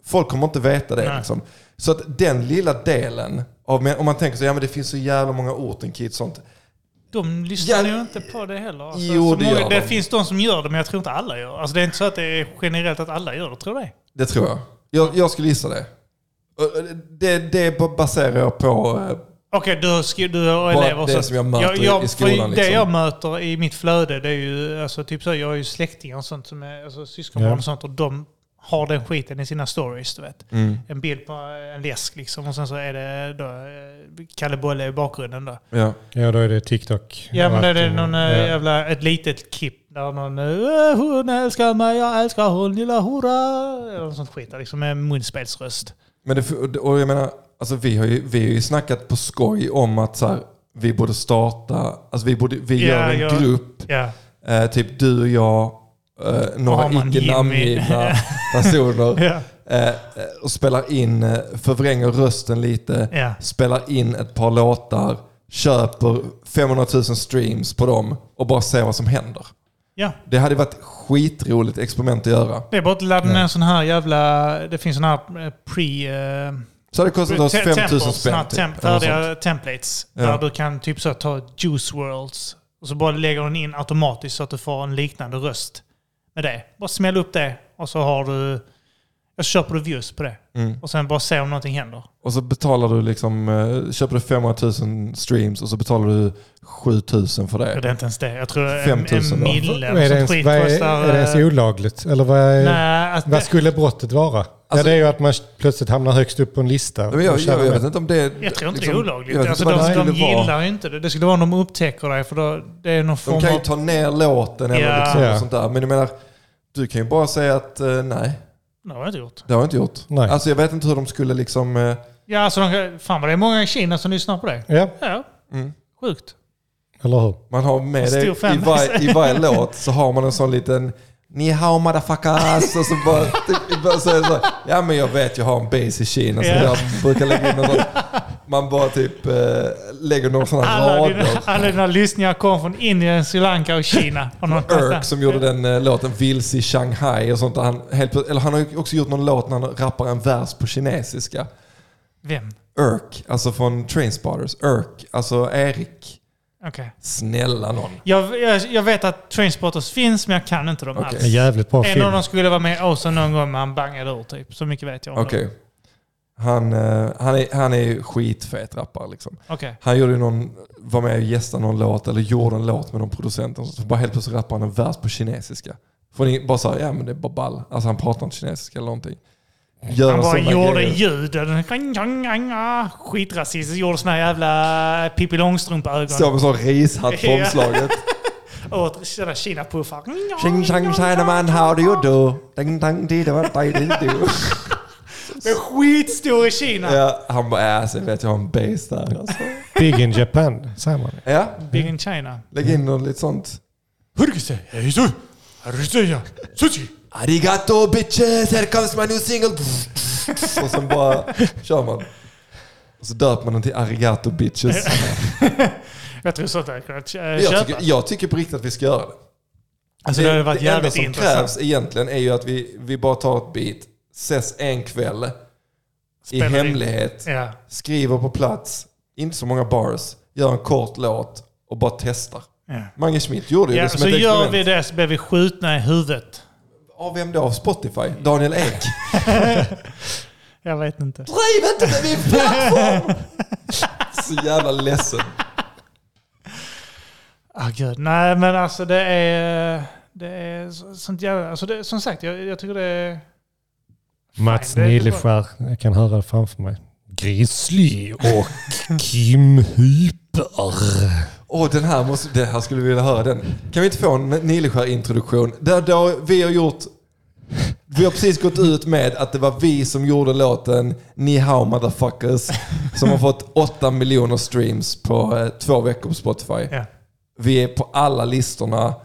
[SPEAKER 3] Folk kommer inte veta det.
[SPEAKER 1] Nej.
[SPEAKER 3] Liksom. Så att den lilla delen, av, om man tänker så, ja men det finns så jävla många ortenkids sånt.
[SPEAKER 1] De lyssnar
[SPEAKER 3] Ja.
[SPEAKER 1] ju inte på det heller. Alltså,
[SPEAKER 3] Jo,
[SPEAKER 1] så
[SPEAKER 3] det
[SPEAKER 1] många,
[SPEAKER 3] gör
[SPEAKER 1] det
[SPEAKER 3] de.
[SPEAKER 1] finns de som gör det, men jag tror inte alla gör det. Alltså, det är inte så att det är generellt att alla gör det, tror jag.
[SPEAKER 3] Det tror jag. Jag, jag skulle gissa det. Och Det, det baserar jag på... eh,
[SPEAKER 1] Okej, du, har skri- du har elever
[SPEAKER 3] det
[SPEAKER 1] så-
[SPEAKER 3] som jag möter i- i
[SPEAKER 1] för
[SPEAKER 3] skolan,
[SPEAKER 1] Det
[SPEAKER 3] liksom.
[SPEAKER 1] jag möter i mitt flöde, det är ju alltså, typ så, jag har ju släktingar och sånt som är alltså, syskonbarn
[SPEAKER 2] Ja.
[SPEAKER 1] och sånt och de har den skiten i sina stories, du vet. En bild på en läsk liksom och sen så är det då eh, Kalle Bolle i bakgrunden då.
[SPEAKER 3] Ja.
[SPEAKER 2] Ja, då är det TikTok.
[SPEAKER 1] Ja men
[SPEAKER 2] Och
[SPEAKER 1] det är det
[SPEAKER 2] allt,
[SPEAKER 1] någon eh,
[SPEAKER 2] ja.
[SPEAKER 1] jävla, ett litet klipp där någon eh, Hon älskar mig, jag älskar hon, lilla hora. Eller något sånt skit där, liksom med munspelsröst.
[SPEAKER 3] Men det, och jag menar, alltså vi, har ju, vi har ju snackat på skoj om att så här, vi borde starta... Alltså vi, borde, vi
[SPEAKER 1] Ja,
[SPEAKER 3] gör en
[SPEAKER 1] ja.
[SPEAKER 3] grupp,
[SPEAKER 1] Ja.
[SPEAKER 3] eh, typ du och jag, eh,
[SPEAKER 1] Har
[SPEAKER 3] några
[SPEAKER 1] man
[SPEAKER 3] icke
[SPEAKER 1] Jimmy.
[SPEAKER 3] namngivna personer.
[SPEAKER 1] Ja.
[SPEAKER 3] eh, eh, och spelar in, eh, förvränger rösten lite,
[SPEAKER 1] Ja.
[SPEAKER 3] spelar in ett par låtar, köper 500 000 streams på dem och bara ser vad som händer.
[SPEAKER 1] ja.
[SPEAKER 3] Det hade varit ett skitroligt experiment att göra.
[SPEAKER 1] Det är bara att ladda ner en sån här jävla, det finns sån här eh, pre... eh,
[SPEAKER 3] Så hade Alltså, det kostat oss
[SPEAKER 1] te-
[SPEAKER 3] 5 000
[SPEAKER 1] temples, såna
[SPEAKER 3] spänn.
[SPEAKER 1] här
[SPEAKER 3] typ,
[SPEAKER 1] temp-
[SPEAKER 3] eller något sånt.
[SPEAKER 1] färdiga templates.
[SPEAKER 3] Ja.
[SPEAKER 1] Där du kan typ så här ta juice worlds och så bara lägger den in automatiskt så att du får en liknande röst med det. Bara smäll upp det och så har du, och så köper du views på det.
[SPEAKER 3] Mm.
[SPEAKER 1] Och sen bara se om någonting händer.
[SPEAKER 3] Och så betalar du liksom, eh, köper du 500 000 streams och så betalar du 7 000 för
[SPEAKER 1] Ja,
[SPEAKER 3] det.
[SPEAKER 1] Det är inte ens det. Jag tror en,
[SPEAKER 3] 5000
[SPEAKER 1] en
[SPEAKER 3] bara.
[SPEAKER 1] mille
[SPEAKER 2] Vad är, det
[SPEAKER 1] eller
[SPEAKER 2] ens,
[SPEAKER 1] sånt skit
[SPEAKER 2] vad är,
[SPEAKER 1] kostar...
[SPEAKER 2] är det ens
[SPEAKER 1] eh,
[SPEAKER 2] olagligt? Eller vad, är,
[SPEAKER 1] Nej, alltså,
[SPEAKER 2] vad skulle brottet vara? ja,
[SPEAKER 3] Alltså-
[SPEAKER 2] det är ju att man plötsligt hamnar högst upp på en lista.
[SPEAKER 3] Men jag,
[SPEAKER 2] Och tjänar
[SPEAKER 3] jag, jag vet
[SPEAKER 2] mer.
[SPEAKER 3] inte om det är...
[SPEAKER 1] jag tror inte
[SPEAKER 3] liksom,
[SPEAKER 1] det är olagligt.
[SPEAKER 3] jag vet
[SPEAKER 1] Alltså,
[SPEAKER 3] inte vad
[SPEAKER 1] de
[SPEAKER 3] det
[SPEAKER 1] de
[SPEAKER 3] skulle vara.
[SPEAKER 1] gillar ju inte det. Det skulle vara om de upptäcker dig för då, det är någon form
[SPEAKER 3] De kan ju
[SPEAKER 1] av...
[SPEAKER 3] ta ner låten eller
[SPEAKER 1] Ja.
[SPEAKER 3] liksom
[SPEAKER 2] Ja.
[SPEAKER 3] sånt där. Men jag menar, du kan ju bara säga att eh, nej,
[SPEAKER 1] Det har jag inte gjort.
[SPEAKER 3] det har jag inte gjort.
[SPEAKER 2] Nej.
[SPEAKER 3] Alltså jag vet inte hur de skulle liksom... eh,
[SPEAKER 1] Ja, alltså, de, kan- fan vad det är många i Kina som lyssnar på det.
[SPEAKER 2] Ja,
[SPEAKER 1] Ja,
[SPEAKER 3] Mm.
[SPEAKER 1] sjukt.
[SPEAKER 2] eller hur?
[SPEAKER 3] Man har med
[SPEAKER 1] Stor
[SPEAKER 3] det i
[SPEAKER 1] fanbase.
[SPEAKER 3] varje, i varje låt så har man en sån liten Ni hao motherfuckers och så bara, typ, bara så, är det så, Ja men jag vet jag har en base i Kina så
[SPEAKER 1] Ja.
[SPEAKER 3] jag brukar lägga in en sån man bara typ eh, lägger några sådana
[SPEAKER 1] Alla, dina,
[SPEAKER 3] rader.
[SPEAKER 1] alla dina lyssningar kom från Indien, Sri Lanka och Kina. Och någonstans där.
[SPEAKER 3] Irk som gjorde den eh, låten Vilse i Shanghai och sånt. Där han, helt, plötsligt- eller han har ju också gjort någon låt när han rappar en vers på kinesiska.
[SPEAKER 1] Vem?
[SPEAKER 3] Irk, alltså från Trainspotters. Irk, alltså Erik.
[SPEAKER 1] Okej.
[SPEAKER 3] Snälla någon.
[SPEAKER 1] Jag, jag, jag vet att Trainspotters finns, men jag kan inte dem
[SPEAKER 3] Okej.
[SPEAKER 2] En
[SPEAKER 1] alls.
[SPEAKER 2] jävligt bra
[SPEAKER 1] En av
[SPEAKER 2] film.
[SPEAKER 1] dem skulle vara med i Ocean någon gång, men han bangade ur typ. Så mycket vet jag om
[SPEAKER 3] Okej. Han, eh, han, är, han är ju skitfet rappare liksom.
[SPEAKER 1] dem. Okej.
[SPEAKER 3] Han gjorde ju någon, var med och gästade någon låt eller gjorde en låt med någon producent. Och så bara helt plötsligt rappade han en vers på kinesiska. För ni bara såhär, ja men det är bara ball. Alltså han pratar inte kinesiska eller någonting. Gör
[SPEAKER 1] Han bara
[SPEAKER 3] sådana
[SPEAKER 1] gjorde
[SPEAKER 3] grejer.
[SPEAKER 1] ljuden. Skitrasist. ah, Gjorde såna jävla eh, Pippi
[SPEAKER 3] Står
[SPEAKER 1] Långstrump-ögon.
[SPEAKER 3] med sån rishatt på
[SPEAKER 1] Ja.
[SPEAKER 3] omslaget.
[SPEAKER 1] Åt sådana Kina-puffar.
[SPEAKER 3] Tjing
[SPEAKER 1] Oh
[SPEAKER 3] tjang Chinaman, how do you do? Ding dang di da ba di di do.
[SPEAKER 1] Men skitstor i Kina.
[SPEAKER 3] Ja, han bara, ja sen vet jag har en bass där. Alltså.
[SPEAKER 2] Big in Japan, säger man.
[SPEAKER 3] Ja,
[SPEAKER 1] Big in China.
[SPEAKER 3] lägg in något lite sånt.
[SPEAKER 1] Sushi!
[SPEAKER 3] Arigato bitches, here comes my new single. Och sen bara kör man. Och så döper man den till Arigato bitches.
[SPEAKER 1] Jag tror sånt hade kunnat eh,
[SPEAKER 3] Jag
[SPEAKER 1] köpa.
[SPEAKER 3] tycker, jag tycker på riktigt att vi ska göra det.
[SPEAKER 1] Alltså det hade varit jävligt
[SPEAKER 3] enda som
[SPEAKER 1] intressant.
[SPEAKER 3] krävs egentligen är ju att vi, vi bara tar ett beat, ses en kväll i
[SPEAKER 1] Spelar in.
[SPEAKER 3] hemlighet,
[SPEAKER 1] Ja.
[SPEAKER 3] skriver på plats, inte så många bars, gör en kort låt och bara testar.
[SPEAKER 1] Ja.
[SPEAKER 3] Mange Schmidt gjorde ju
[SPEAKER 1] Ja,
[SPEAKER 3] det som
[SPEAKER 1] så
[SPEAKER 3] ett
[SPEAKER 1] gör
[SPEAKER 3] experiment.
[SPEAKER 1] vi det så blir vi skjutna i huvudet.
[SPEAKER 3] Av vem då? Av Spotify? Daniel Ek?
[SPEAKER 1] Jag vet inte.
[SPEAKER 3] Driv inte med min plattform! så jävla ledsen.
[SPEAKER 1] Ah, gud. Nej, men alltså det är... Det är så- sånt jävla... Alltså det, som sagt, jag, jag tycker det är...
[SPEAKER 2] Mats
[SPEAKER 1] Nej, det är inte
[SPEAKER 2] Nilleskär, jag kan höra det framför mig. Grizzly och Kim Hyper.
[SPEAKER 3] Åh, den här måste, det här skulle vi vilja höra den. Kan vi inte få en Nileskär-introduktion? Där då vi har gjort... Vi har precis gått ut med att det var vi som gjorde låten Ni hao motherfuckers som har fått 8 miljoner streams på eh, två veckor på Spotify.
[SPEAKER 1] Ja.
[SPEAKER 3] Vi är på alla listorna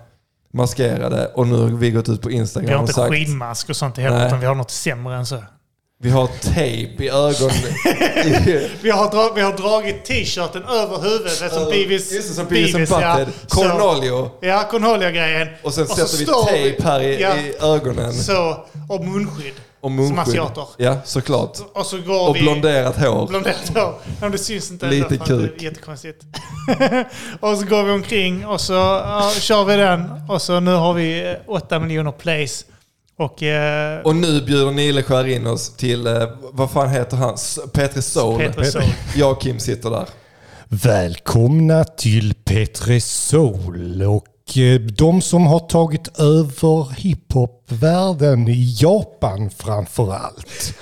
[SPEAKER 3] maskerade och nu har vi gått ut på Instagram
[SPEAKER 1] Vi har
[SPEAKER 3] och
[SPEAKER 1] inte
[SPEAKER 3] sagt
[SPEAKER 1] skinnmask och sånt heller,
[SPEAKER 3] Nej.
[SPEAKER 1] utan vi har något sämre än så.
[SPEAKER 3] vi har tejp i ögonen. I-
[SPEAKER 1] Vi har, dra- vi har dragit t-shirten över huvudet, det är som Beavis...
[SPEAKER 3] Just det, som Beavis and
[SPEAKER 1] ja.
[SPEAKER 3] Butthead.
[SPEAKER 1] Så-
[SPEAKER 3] Cornolio.
[SPEAKER 1] Ja, Cornolio-grejen.
[SPEAKER 3] Och sen
[SPEAKER 1] så
[SPEAKER 3] sätter vi
[SPEAKER 1] står
[SPEAKER 3] tejp här i,
[SPEAKER 1] ja,
[SPEAKER 3] i ögonen.
[SPEAKER 1] Så, och munskydd.
[SPEAKER 3] Och munskydd.
[SPEAKER 1] Som asiater.
[SPEAKER 3] Ja, såklart.
[SPEAKER 1] Och så går
[SPEAKER 3] Och
[SPEAKER 1] vi...
[SPEAKER 3] blonderat hår.
[SPEAKER 1] Blonderat hår. Men det syns inte.
[SPEAKER 3] Lite
[SPEAKER 1] ändå, för att
[SPEAKER 3] kuk.
[SPEAKER 1] Det är jättekonstigt. och så går vi omkring och så ja, kör vi den. Och så nu har vi 8 miljoner plays. Och, eh,
[SPEAKER 3] Och nu bjuder Nileskär in oss till, eh, vad fan heter han? S- Petri Soul.
[SPEAKER 1] Peter Soul.
[SPEAKER 3] Jag och Kim sitter där.
[SPEAKER 2] Välkomna till Petre Sol och eh, de som har tagit över hiphopvärlden i Japan framför allt.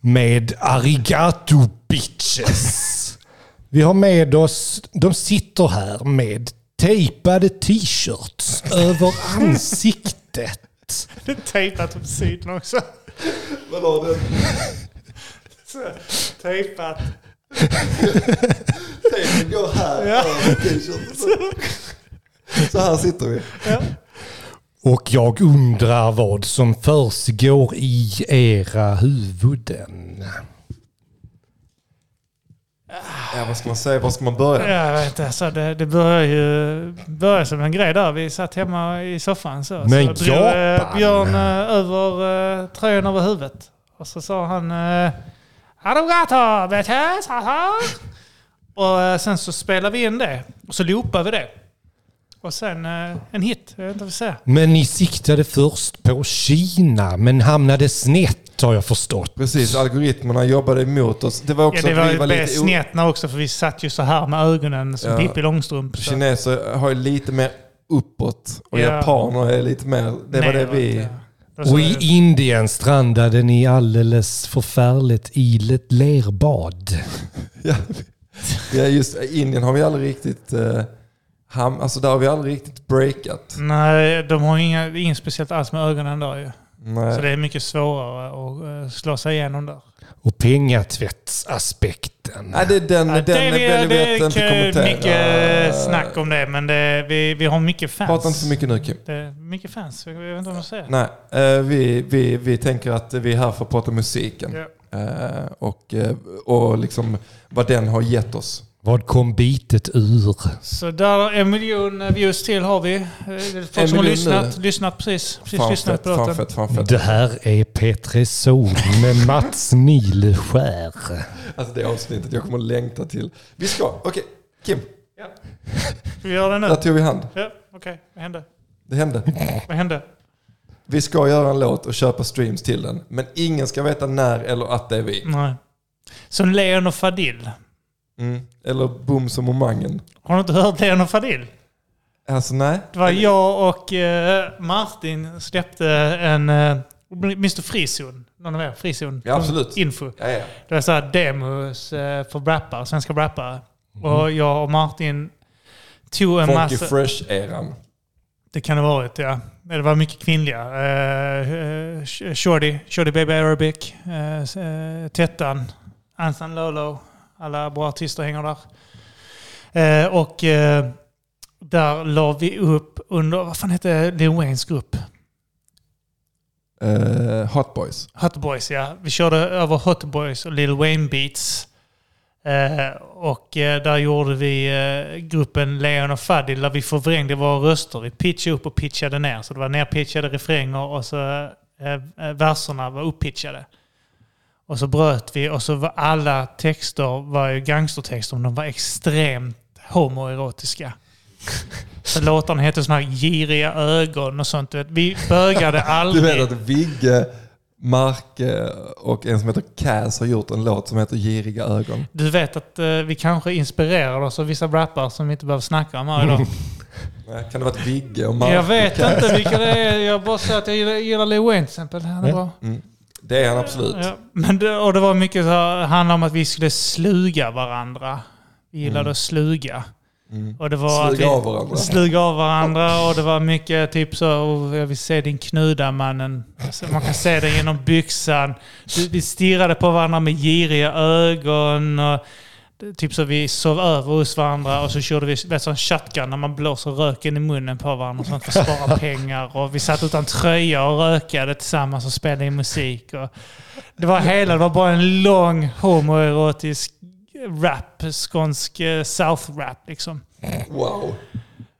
[SPEAKER 2] Med arigato bitches. Vi har med oss, de sitter här med tejpade t-shirts över ansiktet.
[SPEAKER 1] Det är tejpat på sidan också.
[SPEAKER 3] Vad var det?
[SPEAKER 1] Så, tejpat.
[SPEAKER 3] Tejpen går här. över t-shirten. Så här sitter vi.
[SPEAKER 2] Och jag undrar vad som försiggår i era huvuden.
[SPEAKER 3] Ja, vad ska man säga? Var ska man börja?
[SPEAKER 1] Jag vet inte, alltså, det, det började ju började som en grej där. Vi satt hemma i soffan så.
[SPEAKER 2] Men
[SPEAKER 1] så drog, eh,
[SPEAKER 2] Japan!
[SPEAKER 1] Björn eh, över eh, tröjan över huvudet. Och så sa han... Eh, Arigato, bitches, haha." Och eh, sen så spelade vi in det. Och så loopade vi det. Och sen eh, en hit. Jag vet inte vad vi säger.
[SPEAKER 2] Men ni siktade först på Kina, men hamnade snett har jag förstått.
[SPEAKER 3] Precis, algoritmerna jobbade emot oss. Det var
[SPEAKER 1] Ja,
[SPEAKER 3] också
[SPEAKER 1] det
[SPEAKER 3] att
[SPEAKER 1] var
[SPEAKER 3] vi
[SPEAKER 1] ju
[SPEAKER 3] var
[SPEAKER 1] blev
[SPEAKER 3] lite... o-
[SPEAKER 1] snett när också för vi satt ju så här med ögonen som
[SPEAKER 3] Ja.
[SPEAKER 1] Pippi Långstrump. Så.
[SPEAKER 3] Kineser har ju lite mer uppåt och
[SPEAKER 1] Ja.
[SPEAKER 3] japaner är lite mer... Det var det
[SPEAKER 1] Neråt,
[SPEAKER 3] vi...
[SPEAKER 1] ja. Det var så
[SPEAKER 2] Och
[SPEAKER 1] det-
[SPEAKER 2] i Indien strandade ni alldeles förfärligt i ett lerbad.
[SPEAKER 3] Ja, ja just Indien har vi aldrig riktigt... Eh, ham, alltså där har vi aldrig riktigt breakat.
[SPEAKER 1] Nej, de har inga, inget speciellt alls med ögonen där ju. Så
[SPEAKER 3] Nej.
[SPEAKER 1] det är mycket svårare att eh, slå sig igenom där.
[SPEAKER 2] Och pengatvättsaspekten.
[SPEAKER 3] Nej, det är den, den
[SPEAKER 1] det, vi-
[SPEAKER 3] väljer vi att inte
[SPEAKER 1] det
[SPEAKER 3] kommentera.
[SPEAKER 1] är mycket snack om det, men det, vi, vi har mycket fans.
[SPEAKER 3] Prata inte så mycket nu Kim.
[SPEAKER 1] Det är mycket fans, jag vet inte vad man säger.
[SPEAKER 3] Nej, eh, vi, vi, vi tänker att vi är här för att prata musiken.
[SPEAKER 1] Ja.
[SPEAKER 3] eh, och, eh, och liksom vad den har gett oss.
[SPEAKER 2] Vad kom bitet ur?
[SPEAKER 1] Så där, en miljon views till har vi. Eh, det är Folk som har
[SPEAKER 3] miljon
[SPEAKER 1] lyssnat, lyssnat precis. precis
[SPEAKER 3] Fan
[SPEAKER 1] lyssnat
[SPEAKER 3] fett,
[SPEAKER 1] på
[SPEAKER 3] fan
[SPEAKER 1] låten.
[SPEAKER 3] fett, fan fett.
[SPEAKER 2] Det här är P3 Sol med Mats Nilskär.
[SPEAKER 3] Alltså det avsnittet jag kommer att längta till. Vi ska, okej, Kim,
[SPEAKER 1] Ska vi göra det nu?
[SPEAKER 3] där tog vi hand.
[SPEAKER 1] Ja, okej. Vad hände?
[SPEAKER 3] Det hände.
[SPEAKER 1] Vad hände?
[SPEAKER 3] Vi ska göra en låt och köpa streams till den, men ingen ska veta när eller att det är vi.
[SPEAKER 1] Nej. Som Leon och Fadil.
[SPEAKER 3] Mm. Eller Booms och Momangen.
[SPEAKER 1] Har du inte hört Leon och Fadil?
[SPEAKER 3] Alltså nej.
[SPEAKER 1] Det var jag och eh, Martin släppte en... Eh, minns du Frizon? Någon av er? Frizon?
[SPEAKER 3] Ja, absolut.
[SPEAKER 1] Info.
[SPEAKER 3] Ja, ja.
[SPEAKER 1] Det var så här demos eh, för rappare, svenska rappare. Och
[SPEAKER 3] Mm.
[SPEAKER 1] jag och Martin tog en
[SPEAKER 3] Funky
[SPEAKER 1] massa...
[SPEAKER 3] Fresh-eran.
[SPEAKER 1] Det kan det ha varit, ja. Men Det var mycket kvinnliga. Eh, eh, Sh- Shorty, Shorty Baby Arabic, eh, s- eh, Tettan, Ansan Lolo. Alla bra artister hänger där. Eh, och eh, där la vi upp under, vad fan hette Lil Waynes grupp?
[SPEAKER 3] Eh, Hot Boys.
[SPEAKER 1] Hot Boys, ja. Vi körde över Hot Boys och Lil Wayne Beats. Eh, och eh, där gjorde vi eh, gruppen Leon och Fadil där vi förvrängde våra röster. Vi pitchade upp och pitchade ner. Så det var nerpitchade refränger och så eh, eh, verserna var upppitchade. Och så bröt vi och så var alla texter var ju gangstertexter men de var extremt homoerotiska. Så låtarna hette sådana här giriga ögon och sånt. du vet. Vi bögade
[SPEAKER 3] Du
[SPEAKER 1] aldrig.
[SPEAKER 3] vet att Vigge, Marke och en som heter Kaz har gjort en låt som heter Giriga ögon.
[SPEAKER 1] Du vet att eh, vi kanske inspirerar oss av vissa rappare som vi inte behöver snacka om här idag.
[SPEAKER 3] Nej, Kan det vara Vigge och Marke?
[SPEAKER 1] jag vet inte vilka det är. Jag bara säger att jag gillar, gillar Lil Wayne till exempel. Han är
[SPEAKER 2] Ja.
[SPEAKER 1] bra.
[SPEAKER 3] Mm. Det är han absolut.
[SPEAKER 1] Ja. Men det, och det var mycket så här, handlade om att vi skulle sluga varandra. Vi gillade
[SPEAKER 3] Mm.
[SPEAKER 1] att sluga.
[SPEAKER 3] Mm.
[SPEAKER 1] Och det var att vi,
[SPEAKER 3] Sluga av varandra.
[SPEAKER 1] sluga av varandra och det var mycket typ så oh, jag vill se din knuda mannen. Alltså, man kan se den genom byxan. Vi- Vi stirrade på varandra med giriga ögon. Och, det- typ så vi sov över hos varandra och så körde vi vet, sån shotgun när man blåser röken i munnen på varandra och sånt för att spara pengar. Och vi satt utan tröja och rökade tillsammans och spelade in musik. Och det var hela, det var bara en lång homoerotisk rap, skånsk eh, south-rap liksom.
[SPEAKER 3] Wow.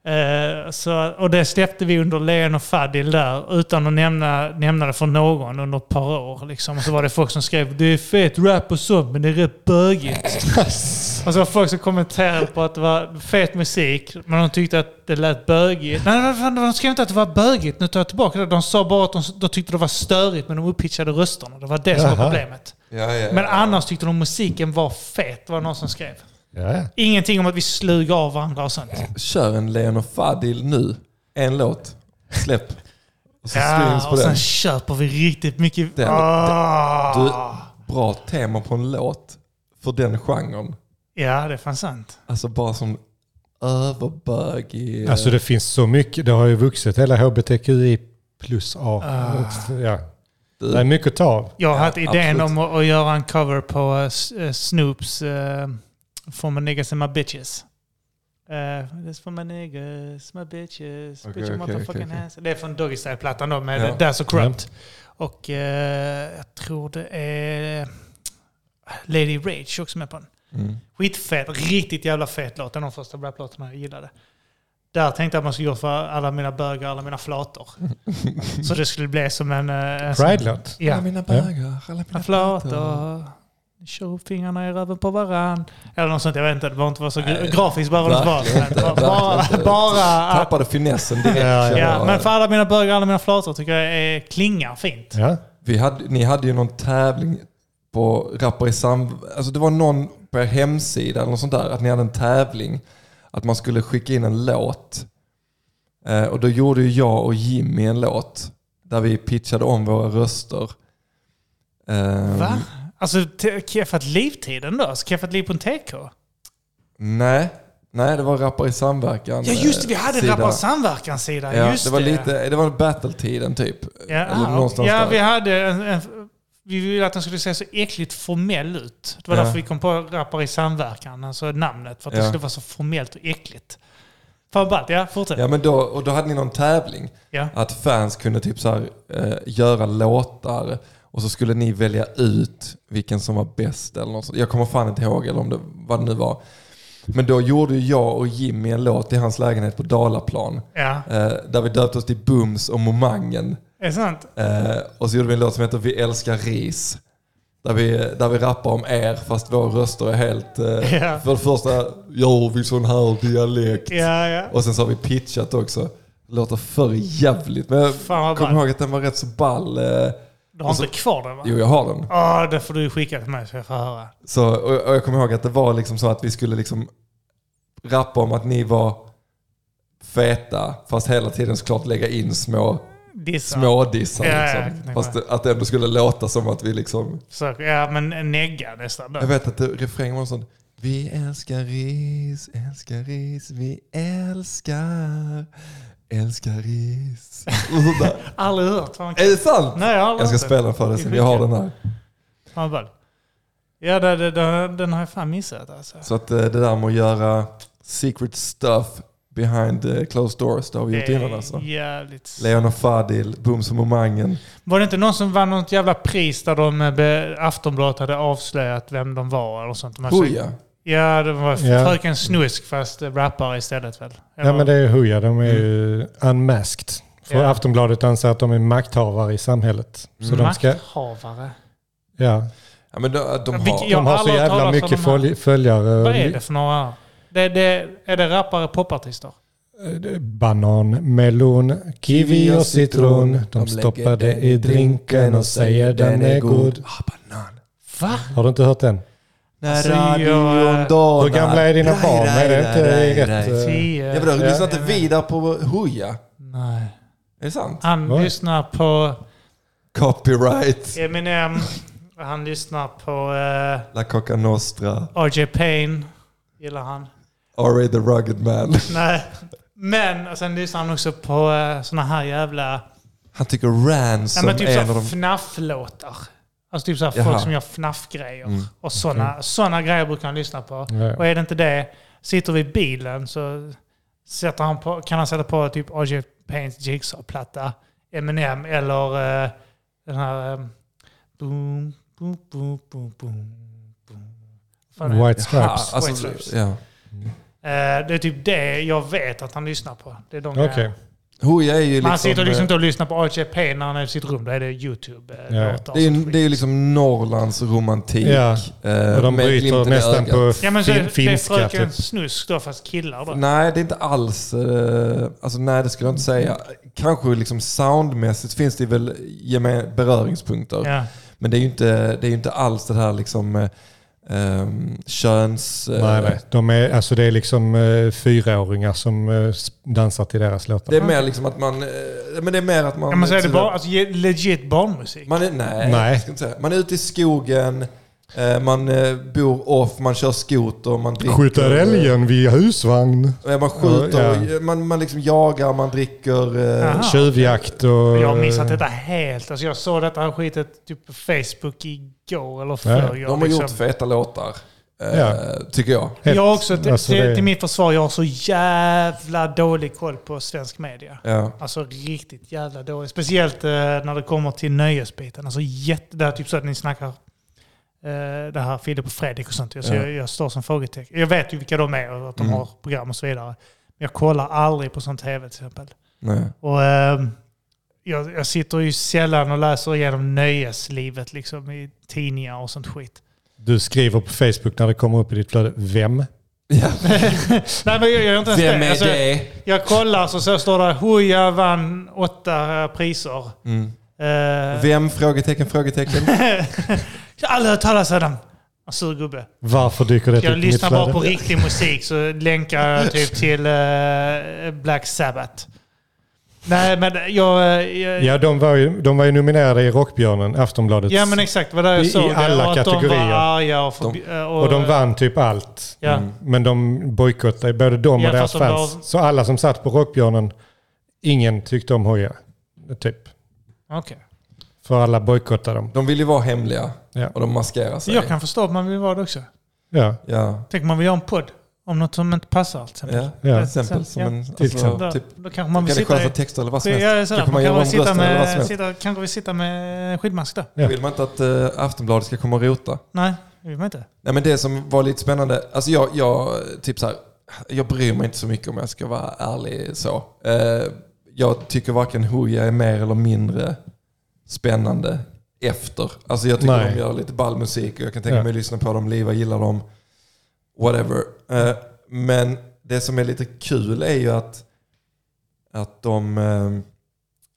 [SPEAKER 1] Eh, så, och det släppte vi under Len och Fadil där utan att nämna, nämna det för någon under ett par år. Liksom. Och så var det folk som skrev det är fet rap och sånt men det är rätt bögigt. och så var folk som kommenterade på att det var fet musik men de tyckte att det lät bögigt. Nej, nej, fan, de skrev inte att det var bögigt. Nu tar jag tillbaka det. De sa bara att de, de tyckte det var störigt men de upppitchade rösterna. Det var det som var
[SPEAKER 2] Jaha.
[SPEAKER 1] problemet.
[SPEAKER 3] Ja, ja.
[SPEAKER 1] Men annars tyckte de musiken var fet, var det någon som skrev.
[SPEAKER 2] Ja.
[SPEAKER 1] Ingenting om att vi slog av varandra och sånt.
[SPEAKER 3] Kör en Leon och Fadil nu. En låt. Släpp. Och så streams
[SPEAKER 1] Ja,
[SPEAKER 3] på
[SPEAKER 1] och sen
[SPEAKER 3] den.
[SPEAKER 1] köper vi riktigt mycket.
[SPEAKER 3] Den-
[SPEAKER 1] ah.
[SPEAKER 3] Bra tema på en låt för den genren.
[SPEAKER 1] Ja, det är fan sant.
[SPEAKER 3] Alltså bara som eh, överbögig.
[SPEAKER 2] Alltså det finns så mycket. Det har ju vuxit hela HBTQI plus A.
[SPEAKER 1] Ah.
[SPEAKER 2] Ja.
[SPEAKER 3] Du,
[SPEAKER 2] Det är mycket att ta av.
[SPEAKER 1] Jag har
[SPEAKER 3] Ja,
[SPEAKER 1] haft idén
[SPEAKER 3] absolut.
[SPEAKER 1] om att, att göra en cover på eh, S- eh, Snoops uh, For My Niggas and My Bitches. Uh, this for my niggas, my bitches, bitch
[SPEAKER 3] Okej,
[SPEAKER 1] your
[SPEAKER 3] okej, okej,
[SPEAKER 1] motherfucking
[SPEAKER 3] okej.
[SPEAKER 1] ass. Det är från Doggy Style-plattan då med
[SPEAKER 3] Ja.
[SPEAKER 1] That's So Corrupt. Och eh, jag tror det är Lady Rage också med på den.
[SPEAKER 3] mm.
[SPEAKER 1] Skitfet, riktigt jävla fet låt. En av de första raplåtarna jag gillade. Där tänkte jag att man skulle gå för alla mina bögar, alla mina flator. Så det skulle bli som en... eh, en sån-
[SPEAKER 2] Pride-låt.
[SPEAKER 1] Ja.
[SPEAKER 3] Alla mina bögar, alla
[SPEAKER 1] Mina
[SPEAKER 3] mina
[SPEAKER 1] flator. Kör upp fingrarna i röven på varann. Eller något sånt, jag vet inte. Det behöver inte vara så
[SPEAKER 3] Nej,
[SPEAKER 1] grafiskt. Behöver det inte vara.
[SPEAKER 3] verkligen inte,
[SPEAKER 1] Men Bara,
[SPEAKER 3] verkligen inte.
[SPEAKER 1] bara att...
[SPEAKER 3] Tappade finessen direkt.
[SPEAKER 2] Ja,
[SPEAKER 1] Ja,
[SPEAKER 3] känner jag.
[SPEAKER 1] men för alla mina bögar, alla mina flator tycker jag är, klingar fint.
[SPEAKER 2] Ja.
[SPEAKER 3] Vi hade, ni hade ju någon tävling på Rappar i sam... Alltså det var någon på er hemsida eller något sånt där, att ni hade en tävling. Att man skulle skicka in en låt. Eh, och då gjorde ju jag och Jimmy en låt. Där vi pitchade om våra röster. Eh,
[SPEAKER 1] Va? Alltså, te- Keffat Livtiden då? Alltså, Keffat Liv på en TK?
[SPEAKER 3] Nej, nej det var Rappar i samverkan.
[SPEAKER 1] Ja just det, vi
[SPEAKER 3] eh,
[SPEAKER 1] hade
[SPEAKER 3] sida.
[SPEAKER 1] Rappar samverkanssida.
[SPEAKER 3] Ja,
[SPEAKER 1] just
[SPEAKER 3] det var lite, det var battle-tiden typ.
[SPEAKER 1] Ja,
[SPEAKER 3] Eller
[SPEAKER 1] ah,
[SPEAKER 3] någonstans
[SPEAKER 1] ja
[SPEAKER 3] där.
[SPEAKER 1] vi hade en, en, Vi ville att den skulle se så äckligt formell ut. Det var
[SPEAKER 3] Ja.
[SPEAKER 1] därför vi kom på Rappar i samverkan, alltså namnet. För att det
[SPEAKER 3] Ja.
[SPEAKER 1] skulle vara så formellt och äckligt. Fan ballt, ja fortsätt. Ja.
[SPEAKER 3] Ja, men då, och då hade ni någon tävling.
[SPEAKER 1] Ja.
[SPEAKER 3] Att fans kunde typ så här, eh, göra låtar Och så skulle ni välja ut vilken som var bäst eller något sånt. Jag kommer fan inte ihåg eller om det, vad det nu var. Men då gjorde ju jag och Jimmy en låt i hans lägenhet på Dalaplan.
[SPEAKER 1] Ja,
[SPEAKER 3] Eh, där vi döpte oss till Bums och Momangen.
[SPEAKER 1] är det sant?
[SPEAKER 3] Eh, och så gjorde vi en låt som heter Vi älskar ris. Där vi, där vi rappar om er fast våra röster är helt... Eh,
[SPEAKER 1] Ja.
[SPEAKER 3] För det första gör vi sån här dialekt.
[SPEAKER 1] Ja, ja.
[SPEAKER 3] Och sen så har vi pitchat också. Låter för jävligt. Men jag
[SPEAKER 1] Fan vad
[SPEAKER 3] kommer
[SPEAKER 1] ball.
[SPEAKER 3] ihåg att den var rätt så ball. Eh,
[SPEAKER 1] Du har
[SPEAKER 3] och så-
[SPEAKER 1] inte kvar den va?
[SPEAKER 3] jo, jag har den.
[SPEAKER 1] Ja, det får du skicka till mig så jag får höra.
[SPEAKER 3] Så, och, och jag kommer ihåg att det var liksom så att vi skulle liksom rappa om att ni var feta. Fast hela tiden såklart lägga in små
[SPEAKER 1] Dissa.
[SPEAKER 3] smådissar.
[SPEAKER 1] Ja, ja, jag kan
[SPEAKER 3] liksom.
[SPEAKER 1] tänka
[SPEAKER 3] Fast
[SPEAKER 1] mig.
[SPEAKER 3] det- att det ändå skulle låta som att vi liksom...
[SPEAKER 1] Försök. Ja, men negga nästan. då.
[SPEAKER 3] Jag vet att det, refrängen var sån. Vi älskar ris, älskar ris, vi älskar, älskar ris. Och sånt där.
[SPEAKER 1] Aldrig hört. Fan,
[SPEAKER 3] Är det sant?
[SPEAKER 1] Nej, jag har aldrig
[SPEAKER 3] Jag ska
[SPEAKER 1] hört den.
[SPEAKER 3] spela den för dig sen. Jag har den här.
[SPEAKER 1] Fan vad ball. Ja, det, det, det, den har jag fan missat alltså.
[SPEAKER 3] Så att eh, det där med att göra secret stuff behind eh, closed doors, det har vi gjort
[SPEAKER 1] Det är
[SPEAKER 3] innan alltså.
[SPEAKER 1] jävligt...
[SPEAKER 3] Leon och Fadil, Bums och Momangen.
[SPEAKER 1] Var det inte någon som vann något jävla pris där de eh, be, Aftonbladet hade avslöjat vem de var eller sånt? De hade
[SPEAKER 3] Hoja.
[SPEAKER 1] Ja, det var
[SPEAKER 2] Ja.
[SPEAKER 1] Fröken Snusk fast eh, rappare istället väl?
[SPEAKER 2] Ja men det är Hooja, de är ju unmasked. För
[SPEAKER 1] Mm. Ja.
[SPEAKER 2] Aftonbladet anser att de är makthavare i samhället. Så de ska,
[SPEAKER 1] Makthavare?
[SPEAKER 2] ja,
[SPEAKER 3] Ja, men eh, de, de
[SPEAKER 1] Vilka-
[SPEAKER 3] har,
[SPEAKER 1] Jag
[SPEAKER 2] de
[SPEAKER 1] har
[SPEAKER 2] har så
[SPEAKER 1] aldrig hört
[SPEAKER 2] jävla
[SPEAKER 1] talas om
[SPEAKER 2] mycket
[SPEAKER 1] de här.
[SPEAKER 2] följ- följare.
[SPEAKER 1] Vad är det för några? Det, det, är det rappare och popartister?
[SPEAKER 2] Banan, melon, kiwi och citron. De stoppar det i drinken och säger den är god.
[SPEAKER 3] Ah, banan.
[SPEAKER 1] Va?
[SPEAKER 2] Har du inte hört den?
[SPEAKER 3] När
[SPEAKER 1] Alltså, jag-
[SPEAKER 3] radion donar.
[SPEAKER 2] Eh, Hur gamla är dina
[SPEAKER 3] Raj,
[SPEAKER 2] barn?
[SPEAKER 3] raj,
[SPEAKER 2] Är det
[SPEAKER 3] raj,
[SPEAKER 2] inte
[SPEAKER 3] raj,
[SPEAKER 2] rätt,
[SPEAKER 3] raj.
[SPEAKER 2] eh,
[SPEAKER 1] Tio?
[SPEAKER 3] Ja, vadå,
[SPEAKER 2] Ja.
[SPEAKER 3] lyssnar inte vi där på Hooja?
[SPEAKER 1] Nej.
[SPEAKER 3] Är det sant?
[SPEAKER 1] Han
[SPEAKER 2] Oj.
[SPEAKER 1] lyssnar på
[SPEAKER 3] Copyright.
[SPEAKER 1] Eminem. Han lyssnar på eh,
[SPEAKER 3] La Coca Nostra.
[SPEAKER 1] RJ Payne. Gillar han.
[SPEAKER 3] R.A. the Rugged Man.
[SPEAKER 1] Nej. Men och sen lyssnar han också på eh, såna här jävla...
[SPEAKER 3] Han tycker Ransom
[SPEAKER 1] Ja, men typ
[SPEAKER 3] är en av
[SPEAKER 1] såhär
[SPEAKER 3] de...
[SPEAKER 1] fnafflåtar. Alltså typ såhär
[SPEAKER 3] Jaha. Mm,
[SPEAKER 1] folk som gör fnaffgrejer. Och sådana såna grejer brukar han lyssna på.
[SPEAKER 2] Ja.
[SPEAKER 1] Och är det inte det, sitter vi i bilen så sätter han på, kan han sätta på typ RJ Paints Jigsaw-platta, Eminem eller eh, den här... eh, Boom, boom, boom, boom, boom, boom. Fan,
[SPEAKER 2] White
[SPEAKER 3] Ja,
[SPEAKER 2] Stripes.
[SPEAKER 1] White
[SPEAKER 3] alltså,
[SPEAKER 1] Stripes.
[SPEAKER 3] ja.
[SPEAKER 1] eh, det är typ det jag vet att han lyssnar på. Det är de
[SPEAKER 2] Okej.
[SPEAKER 1] grejerna.
[SPEAKER 3] Hooja är ju
[SPEAKER 1] Man
[SPEAKER 3] liksom...
[SPEAKER 1] sitter liksom inte och lyssnar på RJ Payne när han är i sitt rum. Då är det YouTube-låtar.
[SPEAKER 2] Ja.
[SPEAKER 1] och
[SPEAKER 3] det, är, ju-
[SPEAKER 1] skit.
[SPEAKER 3] det är ju liksom Norrlands romantik.
[SPEAKER 2] Ja.
[SPEAKER 3] eh,
[SPEAKER 2] Och de
[SPEAKER 3] med
[SPEAKER 2] bryter
[SPEAKER 3] glimten i
[SPEAKER 2] nästan
[SPEAKER 3] ögat.
[SPEAKER 2] på
[SPEAKER 1] Ja men så
[SPEAKER 2] fin-
[SPEAKER 1] är det
[SPEAKER 2] finska.
[SPEAKER 1] är fröken
[SPEAKER 2] Typ.
[SPEAKER 1] Snusk då, fast killar då.
[SPEAKER 3] Nej, det är inte alls... Eh, alltså, nej, det skulle jag inte säga. Kanske liksom soundmässigt finns det väl geme- beröringspunkter.
[SPEAKER 1] Ja.
[SPEAKER 3] Men det är ju inte, det är ju inte alls det här liksom... Eh, ehm, köns... eh,
[SPEAKER 2] Nej, nej. De är, alltså det är liksom eh, fyraåringar som eh, s- dansar till deras låtar.
[SPEAKER 3] Det är mer liksom att man... eh, Men det är mer att man... liksom-
[SPEAKER 1] ja men så är det bara, alltså, ge- legit barnmusik.
[SPEAKER 3] Man är, nej,
[SPEAKER 2] Nej.
[SPEAKER 3] Jag ska inte säga. man är ute i skogen, eh, man eh, bor off, man kör skoter, man dricker.
[SPEAKER 2] Skjuter
[SPEAKER 1] eh,
[SPEAKER 2] älgen vid husvagn.
[SPEAKER 3] Eh, Man skjuter,
[SPEAKER 2] Ja, ja.
[SPEAKER 3] eh, Man, man liksom jagar, man dricker. eh,
[SPEAKER 1] Aha.
[SPEAKER 2] Tjuvjakt och...
[SPEAKER 1] Jag har missat detta helt. Alltså, jag såg detta här skitet typ på Facebook igår eller förrgår.
[SPEAKER 3] De har
[SPEAKER 1] liksom.
[SPEAKER 3] gjort feta låtar, eh,
[SPEAKER 2] Ja.
[SPEAKER 3] tycker jag.
[SPEAKER 2] Helt-
[SPEAKER 1] Jag har också, till,
[SPEAKER 2] alltså,
[SPEAKER 1] till,
[SPEAKER 2] det-
[SPEAKER 1] till mitt försvar, jag har så jävla dålig koll på svensk media.
[SPEAKER 3] Ja.
[SPEAKER 1] Alltså riktigt jävla dålig. Speciellt eh, när det kommer till nöjesbiten. Alltså jätte... Det här typ så att ni snackar eh, det här Filip och Fredrik och sånt. Alltså,
[SPEAKER 3] Ja.
[SPEAKER 1] jag, jag står som frågetecken. Jag vet ju vilka de är och att de
[SPEAKER 3] Mm.
[SPEAKER 1] har program och så vidare. Men jag kollar aldrig på sånt tv till exempel.
[SPEAKER 3] Nej.
[SPEAKER 1] Och, ehm, jag, jag sitter ju sällan och läser igenom nöjeslivet liksom, i tidningar och sånt skit.
[SPEAKER 2] Du skriver på Facebook när det kommer upp i ditt flöde. Vem?
[SPEAKER 3] Ja.
[SPEAKER 1] Nej, men jag gör inte ens
[SPEAKER 3] Vem
[SPEAKER 1] det.
[SPEAKER 3] är
[SPEAKER 1] Alltså,
[SPEAKER 3] det?
[SPEAKER 1] Jag kollar så, så står det Hooja vann åtta eh, priser.
[SPEAKER 3] Mm.
[SPEAKER 1] Eh,
[SPEAKER 3] Vem? Frågetecken, frågetecken.
[SPEAKER 1] jag har aldrig hört talas om dem. En sur gubbe.
[SPEAKER 2] Varför dyker det upp
[SPEAKER 1] Jag
[SPEAKER 2] i mitt
[SPEAKER 1] lyssnar bara på
[SPEAKER 2] flöde?
[SPEAKER 1] riktig musik så länkar jag typ till eh, Black Sabbath. Nej, men jag... eh, jag
[SPEAKER 2] Ja, de var, ju, de var ju nominerade i Rockbjörnen, Aftonbladet.
[SPEAKER 1] ja, men exakt. Det var där jag
[SPEAKER 2] I- i
[SPEAKER 1] såg det,
[SPEAKER 2] alla
[SPEAKER 1] och att De
[SPEAKER 2] kategorier.
[SPEAKER 1] var arga och, förbi- eh, och,
[SPEAKER 2] och de vann typ allt.
[SPEAKER 1] Ja.
[SPEAKER 2] Men de bojkottade både de
[SPEAKER 1] Ja,
[SPEAKER 2] och deras
[SPEAKER 1] fast de
[SPEAKER 2] fans.
[SPEAKER 1] var-
[SPEAKER 2] Så alla som satt på Rockbjörnen, ingen tyckte om Hooja. Typ.
[SPEAKER 1] Okej.
[SPEAKER 2] För alla bojkottade dem.
[SPEAKER 3] De vill ju vara hemliga
[SPEAKER 2] Ja.
[SPEAKER 3] och de maskerar sig.
[SPEAKER 1] Jag kan förstå att man vill vara det också.
[SPEAKER 2] Ja.
[SPEAKER 3] Ja.
[SPEAKER 1] Tänk om man vill göra en podd. Om något som inte passar till exempel.
[SPEAKER 3] Ja,
[SPEAKER 2] Ja.
[SPEAKER 3] till exempel. Som
[SPEAKER 1] Ja.
[SPEAKER 3] en,
[SPEAKER 2] exempel.
[SPEAKER 3] alltså,
[SPEAKER 1] Då,
[SPEAKER 3] typ,
[SPEAKER 1] då kanske man
[SPEAKER 3] kan
[SPEAKER 1] vill
[SPEAKER 3] det
[SPEAKER 1] sitta
[SPEAKER 3] sköta
[SPEAKER 1] i...
[SPEAKER 3] texter eller vad som
[SPEAKER 1] Ja,
[SPEAKER 3] helst.
[SPEAKER 1] ja, sådär.
[SPEAKER 3] Då
[SPEAKER 1] Man
[SPEAKER 3] kan man
[SPEAKER 1] kan
[SPEAKER 3] göra
[SPEAKER 1] väl
[SPEAKER 3] om
[SPEAKER 1] sitta
[SPEAKER 3] rösten eller vad
[SPEAKER 1] med,
[SPEAKER 3] som helst.
[SPEAKER 1] sitta, kanske vi sitta med skidmask där.
[SPEAKER 2] Ja.
[SPEAKER 3] Vill man inte att eh, Aftonbladet ska komma och rota?
[SPEAKER 1] Nej, det vill man inte.
[SPEAKER 3] Nej, men det som var lite spännande, alltså jag, jag, typ så här, jag bryr mig inte så mycket om jag ska vara ärlig så. Eh, jag tycker varken Hooja är mer eller mindre spännande efter. Alltså jag tycker
[SPEAKER 2] Nej.
[SPEAKER 3] de gör lite ball musik och jag kan tänka
[SPEAKER 2] Ja.
[SPEAKER 3] mig att lyssna på dem, liva, gilla dem, whatever. Eh, men det som är lite kul är ju att, att, de, eh,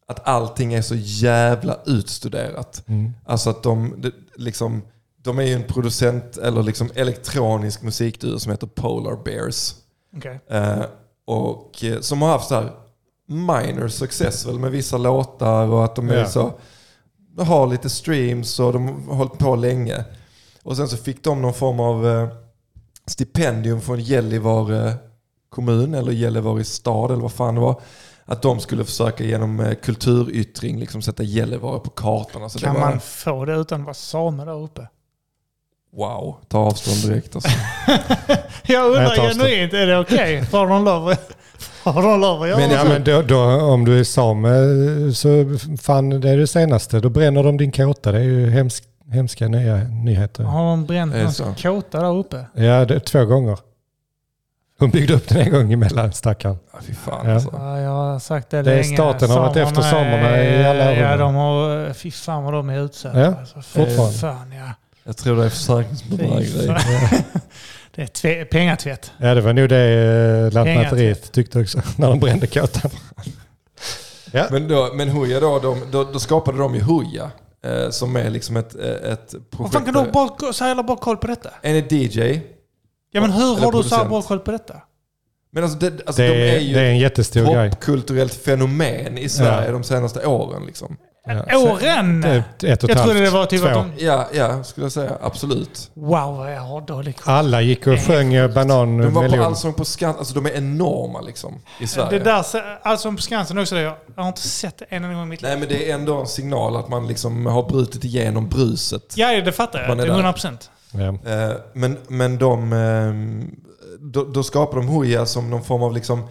[SPEAKER 3] att allting är så jävla utstuderat.
[SPEAKER 2] Mm.
[SPEAKER 3] Alltså att de, de, liksom, de är ju en producent eller liksom elektronisk musikduo som heter Polar Bears.
[SPEAKER 1] Okej.
[SPEAKER 3] Eh, och eh, som har haft så här minor success väl med vissa låtar och att de är
[SPEAKER 2] Ja.
[SPEAKER 3] så, har lite streams och de har hållit på länge. Och sen så fick de någon form av eh, stipendium från Gällivare kommun eller Gällivare stad eller vad fan det var. Att de skulle försöka genom eh, kulturyttring liksom sätta Gällivare på kartan. Alltså det
[SPEAKER 1] Kan
[SPEAKER 3] var-
[SPEAKER 1] man få det utan att vara same där uppe?
[SPEAKER 3] Wow, ta avstånd direkt. Alltså.
[SPEAKER 1] Jag undrar
[SPEAKER 2] Jag tar avstånd.
[SPEAKER 1] genuint, är det okej? Har de lov att- har de lov att göra
[SPEAKER 3] Men
[SPEAKER 1] men
[SPEAKER 2] Ja, men då, då, om du är same så fan det är det senaste. Då bränner de din kåta. Det är ju hemsk, hemska nya nyheter.
[SPEAKER 1] Har de bränt
[SPEAKER 3] Är det
[SPEAKER 1] någons kåta där uppe?
[SPEAKER 2] Ja, det, två gånger. Hon byggde upp den en gång emellan
[SPEAKER 1] Eh,
[SPEAKER 2] stackaren.
[SPEAKER 3] Ja, fy fan
[SPEAKER 2] Ja.
[SPEAKER 3] alltså.
[SPEAKER 1] Ja, jag har sagt det,
[SPEAKER 2] Det är
[SPEAKER 1] länge.
[SPEAKER 2] staten har varit efter samerna i alla år.
[SPEAKER 1] Ja, de har... Fy fan vad de är utsatta.
[SPEAKER 2] Ja,
[SPEAKER 1] alltså, fy
[SPEAKER 2] fortfarande.
[SPEAKER 1] Fan, ja.
[SPEAKER 3] Jag tror det är
[SPEAKER 1] Fy
[SPEAKER 3] försäkringsbedrägeri.
[SPEAKER 1] fan. Det är tve- pengatvätt.
[SPEAKER 2] Ja, det var nog det eh, Lantmäteriet
[SPEAKER 1] Pengatvätt.
[SPEAKER 2] tyckte också när de brände kåtan.
[SPEAKER 3] Alltså, Men, då, men Hooja då, de, då, då skapade de ju Hooja. Eh, som är liksom ett, eh, ett
[SPEAKER 1] Vad
[SPEAKER 3] projekt.
[SPEAKER 1] fan kan du ha bra- så jävla bra koll på detta?
[SPEAKER 3] En är DJ.
[SPEAKER 1] Ja, men hur har
[SPEAKER 3] Eller
[SPEAKER 1] du så här
[SPEAKER 3] producent.
[SPEAKER 1] bra koll på detta?
[SPEAKER 3] Men alltså, det, alltså
[SPEAKER 2] Det,
[SPEAKER 3] de är
[SPEAKER 2] är, det är
[SPEAKER 3] ju
[SPEAKER 2] en jättestor grej.
[SPEAKER 3] ett popkulturellt fenomen i Sverige
[SPEAKER 2] Ja.
[SPEAKER 3] de senaste åren. Liksom.
[SPEAKER 2] Ja.
[SPEAKER 1] Åren!
[SPEAKER 2] Det är Ett och
[SPEAKER 1] Jag
[SPEAKER 2] ett halvt,
[SPEAKER 1] trodde det var typ
[SPEAKER 2] två.
[SPEAKER 1] att de...
[SPEAKER 3] Ja, ja, skulle jag säga. Absolut.
[SPEAKER 1] Wow, vad jag har dålig koll.
[SPEAKER 2] Alla gick och sjöng eh, banan
[SPEAKER 3] De var på
[SPEAKER 2] melon.
[SPEAKER 3] Allsång på Skansen. Alltså de är enorma liksom i
[SPEAKER 1] Det
[SPEAKER 3] Sverige.
[SPEAKER 1] där, se- Allsång på Skansen också, det jag, jag har inte sett det en enda gång i mitt liv.
[SPEAKER 3] Nej men det är ändå en signal att man liksom har brutit igenom bruset.
[SPEAKER 1] Ja, det fattar jag.
[SPEAKER 3] Man
[SPEAKER 1] Det
[SPEAKER 3] är
[SPEAKER 1] är
[SPEAKER 3] där.
[SPEAKER 1] 100 procent.
[SPEAKER 2] Ja.
[SPEAKER 3] Eh, Men, men de, eh, då, då skapar de Hooja som någon form av liksom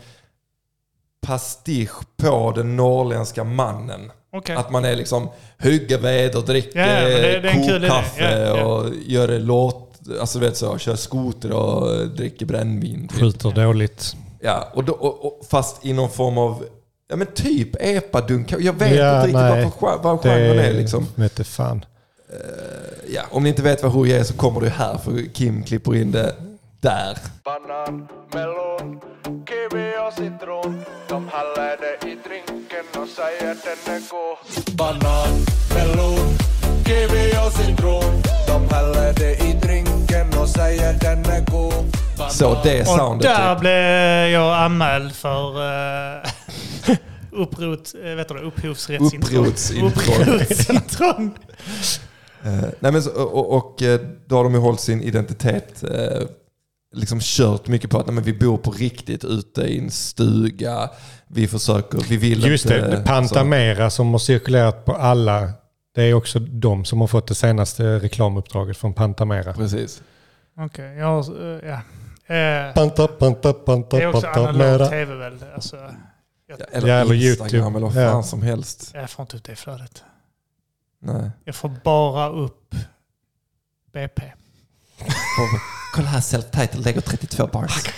[SPEAKER 3] pastisch på den norrländska mannen.
[SPEAKER 1] Okej.
[SPEAKER 3] Att man är liksom hugger ved och dricker
[SPEAKER 1] Ja, ja, men det- det är en kul idé.
[SPEAKER 3] kokkaffe
[SPEAKER 1] Ja, ja.
[SPEAKER 3] och gör det låt, alltså du vet så, kör skoter och eh, dricker brännvin. typ.
[SPEAKER 2] Skjuter dåligt.
[SPEAKER 3] Ja, och då, och, och, fast i någon form av, ja men typ epadunk. Jag vet
[SPEAKER 2] Ja,
[SPEAKER 3] inte riktigt
[SPEAKER 2] nej.
[SPEAKER 3] vad, för, gen- vad
[SPEAKER 2] Det
[SPEAKER 3] genren är liksom.
[SPEAKER 2] vete fan.
[SPEAKER 3] Eh, Ja, om ni inte vet vad Hooja är så kommer du här för Kim klipper in det där.
[SPEAKER 4] banan, melon, kivi och citron. De häller det i drinken och säger den är god. Banan, melon, kiwi och citron. De häller det i drinken och säger den är god. Banan,
[SPEAKER 3] Så det
[SPEAKER 1] Och
[SPEAKER 3] soundet.
[SPEAKER 1] där
[SPEAKER 3] typ.
[SPEAKER 1] blev jag anmäld för uh, upprot, eh, vet du, det, upphovsrättsintrång.
[SPEAKER 3] Upprotsintrång.
[SPEAKER 1] Upphovsintrång.
[SPEAKER 3] Eh, Nej, men så, och, och, och eh, då har de ju hållit sin identitet. eh, Liksom kört mycket på att nej, men vi bor på riktigt ute i en stuga. Vi försöker, vi vill
[SPEAKER 2] Just
[SPEAKER 3] inte...
[SPEAKER 2] det, det Pantamera som har cirkulerat på alla. Det är också de som har fått det senaste reklamuppdraget från Pantamera.
[SPEAKER 3] Så, precis.
[SPEAKER 1] Okej, jag har... eh, ja. Eh,
[SPEAKER 2] Panta, panta, panta,
[SPEAKER 1] det är också
[SPEAKER 2] pantamera.
[SPEAKER 1] analog tv väl? Alltså, jag,
[SPEAKER 3] Ja, eller
[SPEAKER 2] Ja, eller
[SPEAKER 3] Instagram
[SPEAKER 2] YouTube.
[SPEAKER 3] eller vad fan
[SPEAKER 2] Ja.
[SPEAKER 3] som helst.
[SPEAKER 1] jag får inte ut det flödet.
[SPEAKER 3] Nej.
[SPEAKER 1] Jag får bara upp BP.
[SPEAKER 3] Kolla här, self-title, lägger 32 bars.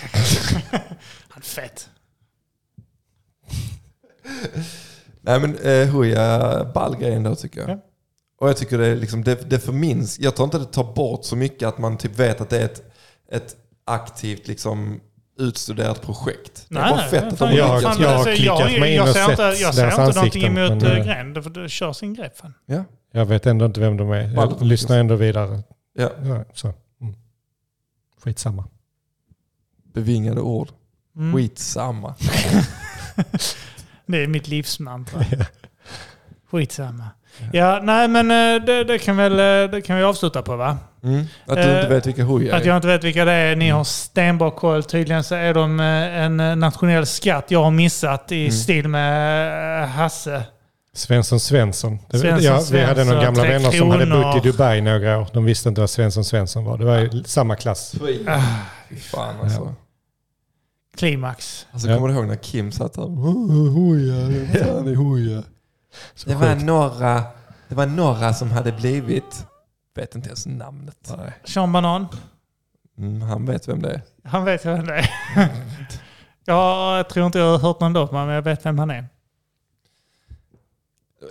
[SPEAKER 1] Han är fett.
[SPEAKER 3] Nej men eh, Hooja, ball grej ändå tycker jag.
[SPEAKER 1] Ja.
[SPEAKER 3] Och jag tycker det, är liksom, det, det förminns, jag tror inte det tar bort så mycket att man typ vet att det är ett, ett aktivt liksom, utstuderat projekt. det
[SPEAKER 1] Nej,
[SPEAKER 3] är bara fett
[SPEAKER 1] nej,
[SPEAKER 3] att
[SPEAKER 1] fan,
[SPEAKER 3] de
[SPEAKER 2] Jag-
[SPEAKER 3] lyckats
[SPEAKER 2] jag
[SPEAKER 1] men
[SPEAKER 3] med det.
[SPEAKER 2] har klickat
[SPEAKER 1] jag-
[SPEAKER 2] mig in
[SPEAKER 1] jag
[SPEAKER 2] och
[SPEAKER 1] ser
[SPEAKER 2] sett
[SPEAKER 1] inte- Jag
[SPEAKER 2] deras
[SPEAKER 1] ser inte någonting
[SPEAKER 2] ansikten,
[SPEAKER 1] emot
[SPEAKER 2] men,
[SPEAKER 1] men,
[SPEAKER 2] eh,
[SPEAKER 1] Gren. Det, för det kör sin grej. Fan.
[SPEAKER 3] Ja.
[SPEAKER 2] Jag vet ändå inte vem de är. Jag
[SPEAKER 3] Ball.
[SPEAKER 2] lyssnar ändå vidare.
[SPEAKER 3] Ja.
[SPEAKER 2] Ja, så. Mm. Skitsamma.
[SPEAKER 3] Bevingade ord.
[SPEAKER 1] Mm.
[SPEAKER 3] Skitsamma.
[SPEAKER 1] Det är mitt livsmantra. Skitsamma. Ja, nej men eh, det, det, kan väl, eh, det kan vi avsluta på va?
[SPEAKER 3] Mm. Att du
[SPEAKER 1] Eh,
[SPEAKER 3] inte vet vilka Hooja
[SPEAKER 1] Att
[SPEAKER 3] är.
[SPEAKER 1] jag inte vet vilka det är.
[SPEAKER 2] Mm.
[SPEAKER 1] Ni har stenbra koll. Tydligen så är de eh, en eh, nationell skatt jag har missat
[SPEAKER 2] Mm.
[SPEAKER 1] i stil med eh, Hasse.
[SPEAKER 2] Svensson Svensson. Det-
[SPEAKER 1] Svensson
[SPEAKER 2] ja, vi
[SPEAKER 1] Svensson,
[SPEAKER 2] hade några gamla
[SPEAKER 1] Tre
[SPEAKER 2] vänner som hade
[SPEAKER 1] Kronor.
[SPEAKER 2] bott i Dubai
[SPEAKER 1] Ah.
[SPEAKER 2] några år. De visste inte vad Svensson Svensson var. Det var ju samma klass.
[SPEAKER 3] Fy. Fy fan alltså.
[SPEAKER 1] Klimax.
[SPEAKER 3] Alltså,
[SPEAKER 2] Ja.
[SPEAKER 3] Kommer du ihåg när Kim satt här? Hoja, fan i hoja.
[SPEAKER 2] Så
[SPEAKER 3] Det var,
[SPEAKER 2] sjukt.
[SPEAKER 3] några, det var några som hade blivit, vet inte ens namnet.
[SPEAKER 1] Sean Banan.
[SPEAKER 3] Mm, han vet vem det är.
[SPEAKER 1] Han vet vem det är. Jag tror inte jag har hört någon låt men jag vet vem han är.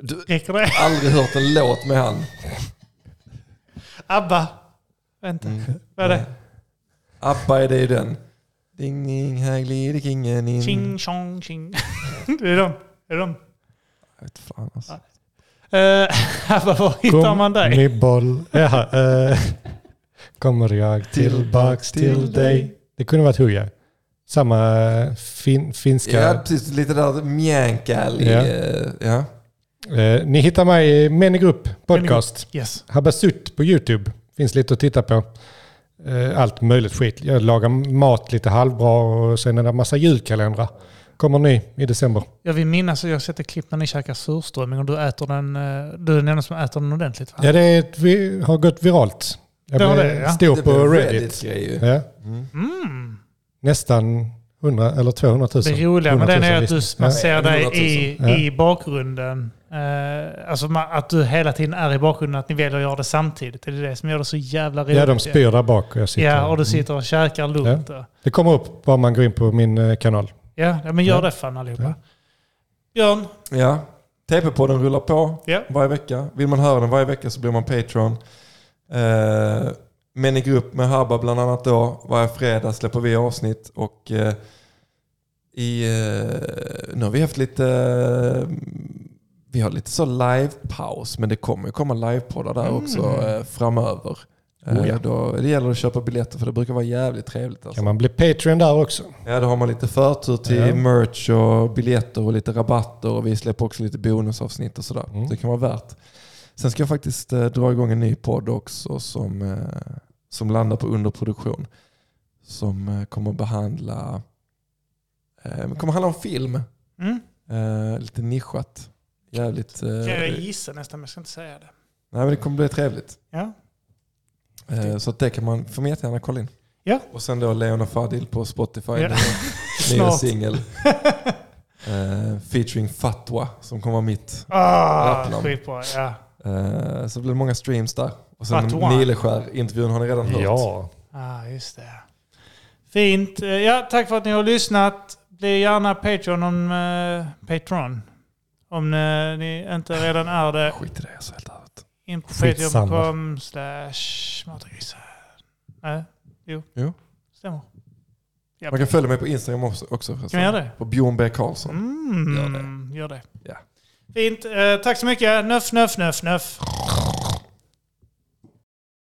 [SPEAKER 3] Du
[SPEAKER 1] Räcker det?
[SPEAKER 3] har aldrig hört en låt med han.
[SPEAKER 1] ABBA. Vänta,
[SPEAKER 2] Mm.
[SPEAKER 1] vad är det?
[SPEAKER 3] Abba är det ju den. Ding ding, här glider kingen in.
[SPEAKER 1] Ching chong ching. Det är de. Det är de.
[SPEAKER 3] Jag vet fan alltså.
[SPEAKER 1] Eh, ABBA, var hittar
[SPEAKER 2] Kom
[SPEAKER 1] man dig?
[SPEAKER 2] Nibboll. Jaha, eh, kommer jag tillbaks till dig. Det kunde varit Hooja. Samma eh, fin, finska.
[SPEAKER 3] Ja, precis. Lite där mjänkal i...
[SPEAKER 2] Ja.
[SPEAKER 3] eh, Ja.
[SPEAKER 2] Eh, ni hittar mig i Män i grupp podcast.
[SPEAKER 1] Yes.
[SPEAKER 2] Habasut på YouTube. Finns lite att titta på. Eh, Allt möjligt skit. Jag lagar mat lite halvbra och sen är det en massa julkalendrar. Kommer ny i december.
[SPEAKER 1] Jag vill minnas att jag har sett ett klipp när ni käkar surströmming och du äter den. eh, Du är den enda som äter den ordentligt va?
[SPEAKER 2] Ja, det är ett, vi har gått viralt. Jag
[SPEAKER 1] Det har
[SPEAKER 2] blev
[SPEAKER 1] det, ja.
[SPEAKER 2] stor
[SPEAKER 3] Det
[SPEAKER 2] på
[SPEAKER 3] blev
[SPEAKER 2] Reddit.
[SPEAKER 3] Reddit-grej ju.
[SPEAKER 2] Ja.
[SPEAKER 1] Mm.
[SPEAKER 2] Nästan 100 eller 200 000.
[SPEAKER 1] Det roliga med
[SPEAKER 2] 100
[SPEAKER 1] den
[SPEAKER 2] 000
[SPEAKER 1] är att du,
[SPEAKER 2] lyssnare.
[SPEAKER 1] man
[SPEAKER 2] Ja.
[SPEAKER 1] ser dig
[SPEAKER 3] 100 000.
[SPEAKER 1] i,
[SPEAKER 2] Ja.
[SPEAKER 1] i bakgrunden. Eh, alltså man, att du hela tiden är i bakgrunden, att ni väljer att göra det samtidigt. Det är det som gör det så jävla roligt.
[SPEAKER 2] Ja, de spyr Mm. där bak och jag sitter.
[SPEAKER 1] Ja, och du sitter och käkar lugnt. Ja,
[SPEAKER 2] Det kommer upp bara man går in på min eh, kanal.
[SPEAKER 1] ja ja, men gör
[SPEAKER 2] Ja.
[SPEAKER 1] det fan allihopa.
[SPEAKER 2] Ja.
[SPEAKER 1] Björn,
[SPEAKER 3] Ja. TP-podden rullar på
[SPEAKER 1] Ja.
[SPEAKER 3] varje vecka. Vill man höra den varje vecka så blir man Patreon. Eh, men i grupp med Habba bland annat då. Varje fredag släpper vi avsnitt och eh, i, eh, nu har vi haft lite eh, vi har lite så live-paus men det kommer ju komma livepoddar där
[SPEAKER 1] Mm.
[SPEAKER 3] också eh, framöver.
[SPEAKER 2] Oh ja.
[SPEAKER 3] eh, då, det gäller att köpa biljetter för det brukar vara jävligt trevligt. Alltså.
[SPEAKER 2] Kan man bli Patreon där också?
[SPEAKER 3] Ja, då har man lite förtur till
[SPEAKER 2] Ja.
[SPEAKER 3] merch och biljetter och lite rabatter och vi släpper också lite bonusavsnitt och sådär.
[SPEAKER 2] Mm.
[SPEAKER 3] Så det kan vara värt. Sen ska jag faktiskt eh, dra igång en ny podd också som, eh, som landar på underproduktion. Som eh, kommer att behandla eh, kommer handla om film.
[SPEAKER 1] mm?
[SPEAKER 3] Eh, lite nischat. Jävligt... Eh,
[SPEAKER 1] kan jag
[SPEAKER 3] nej,
[SPEAKER 1] gissa nästan, men jag ska inte säga det.
[SPEAKER 3] men det kommer bli trevligt.
[SPEAKER 1] Ja.
[SPEAKER 3] Eh, så att det kan man, får man jättegärna kolla in.
[SPEAKER 1] Ja.
[SPEAKER 3] Och sen då Leon och Fadil på Spotify.
[SPEAKER 1] Ja.
[SPEAKER 3] Nya- Nya
[SPEAKER 1] Snart.
[SPEAKER 3] singel. Eh, featuring Fatwa som kommer vara mitt.
[SPEAKER 1] Ah,
[SPEAKER 3] Rappnamn.
[SPEAKER 1] skitbra. Ja.
[SPEAKER 3] Eh, så det blir många streams där. Och sen
[SPEAKER 1] Fatwa.
[SPEAKER 3] Nileskär-intervjun har ni redan hört.
[SPEAKER 1] Ah, just det. Fint. Eh, Ja, tack för att ni har lyssnat. Bli gärna Patreon om, eh, Patreon. om eh, ni inte redan är det.
[SPEAKER 3] Skit i det, jag är så helt ärligt.
[SPEAKER 1] In på
[SPEAKER 2] Skitsamma.
[SPEAKER 1] patreon.com slash matgrisen. Nej, jo.
[SPEAKER 3] Jo.
[SPEAKER 1] Stämmer. Ja.
[SPEAKER 3] Man kan följa mig på Instagram också. också förresten.
[SPEAKER 1] Kan vi göra det?
[SPEAKER 3] På Björn B. Karlsson.
[SPEAKER 1] Mm,
[SPEAKER 3] Gör
[SPEAKER 1] gör
[SPEAKER 3] det.
[SPEAKER 1] det.
[SPEAKER 3] Ja.
[SPEAKER 1] Fint. Eh, tack så mycket. Nöff, nöff, nöff, nöff.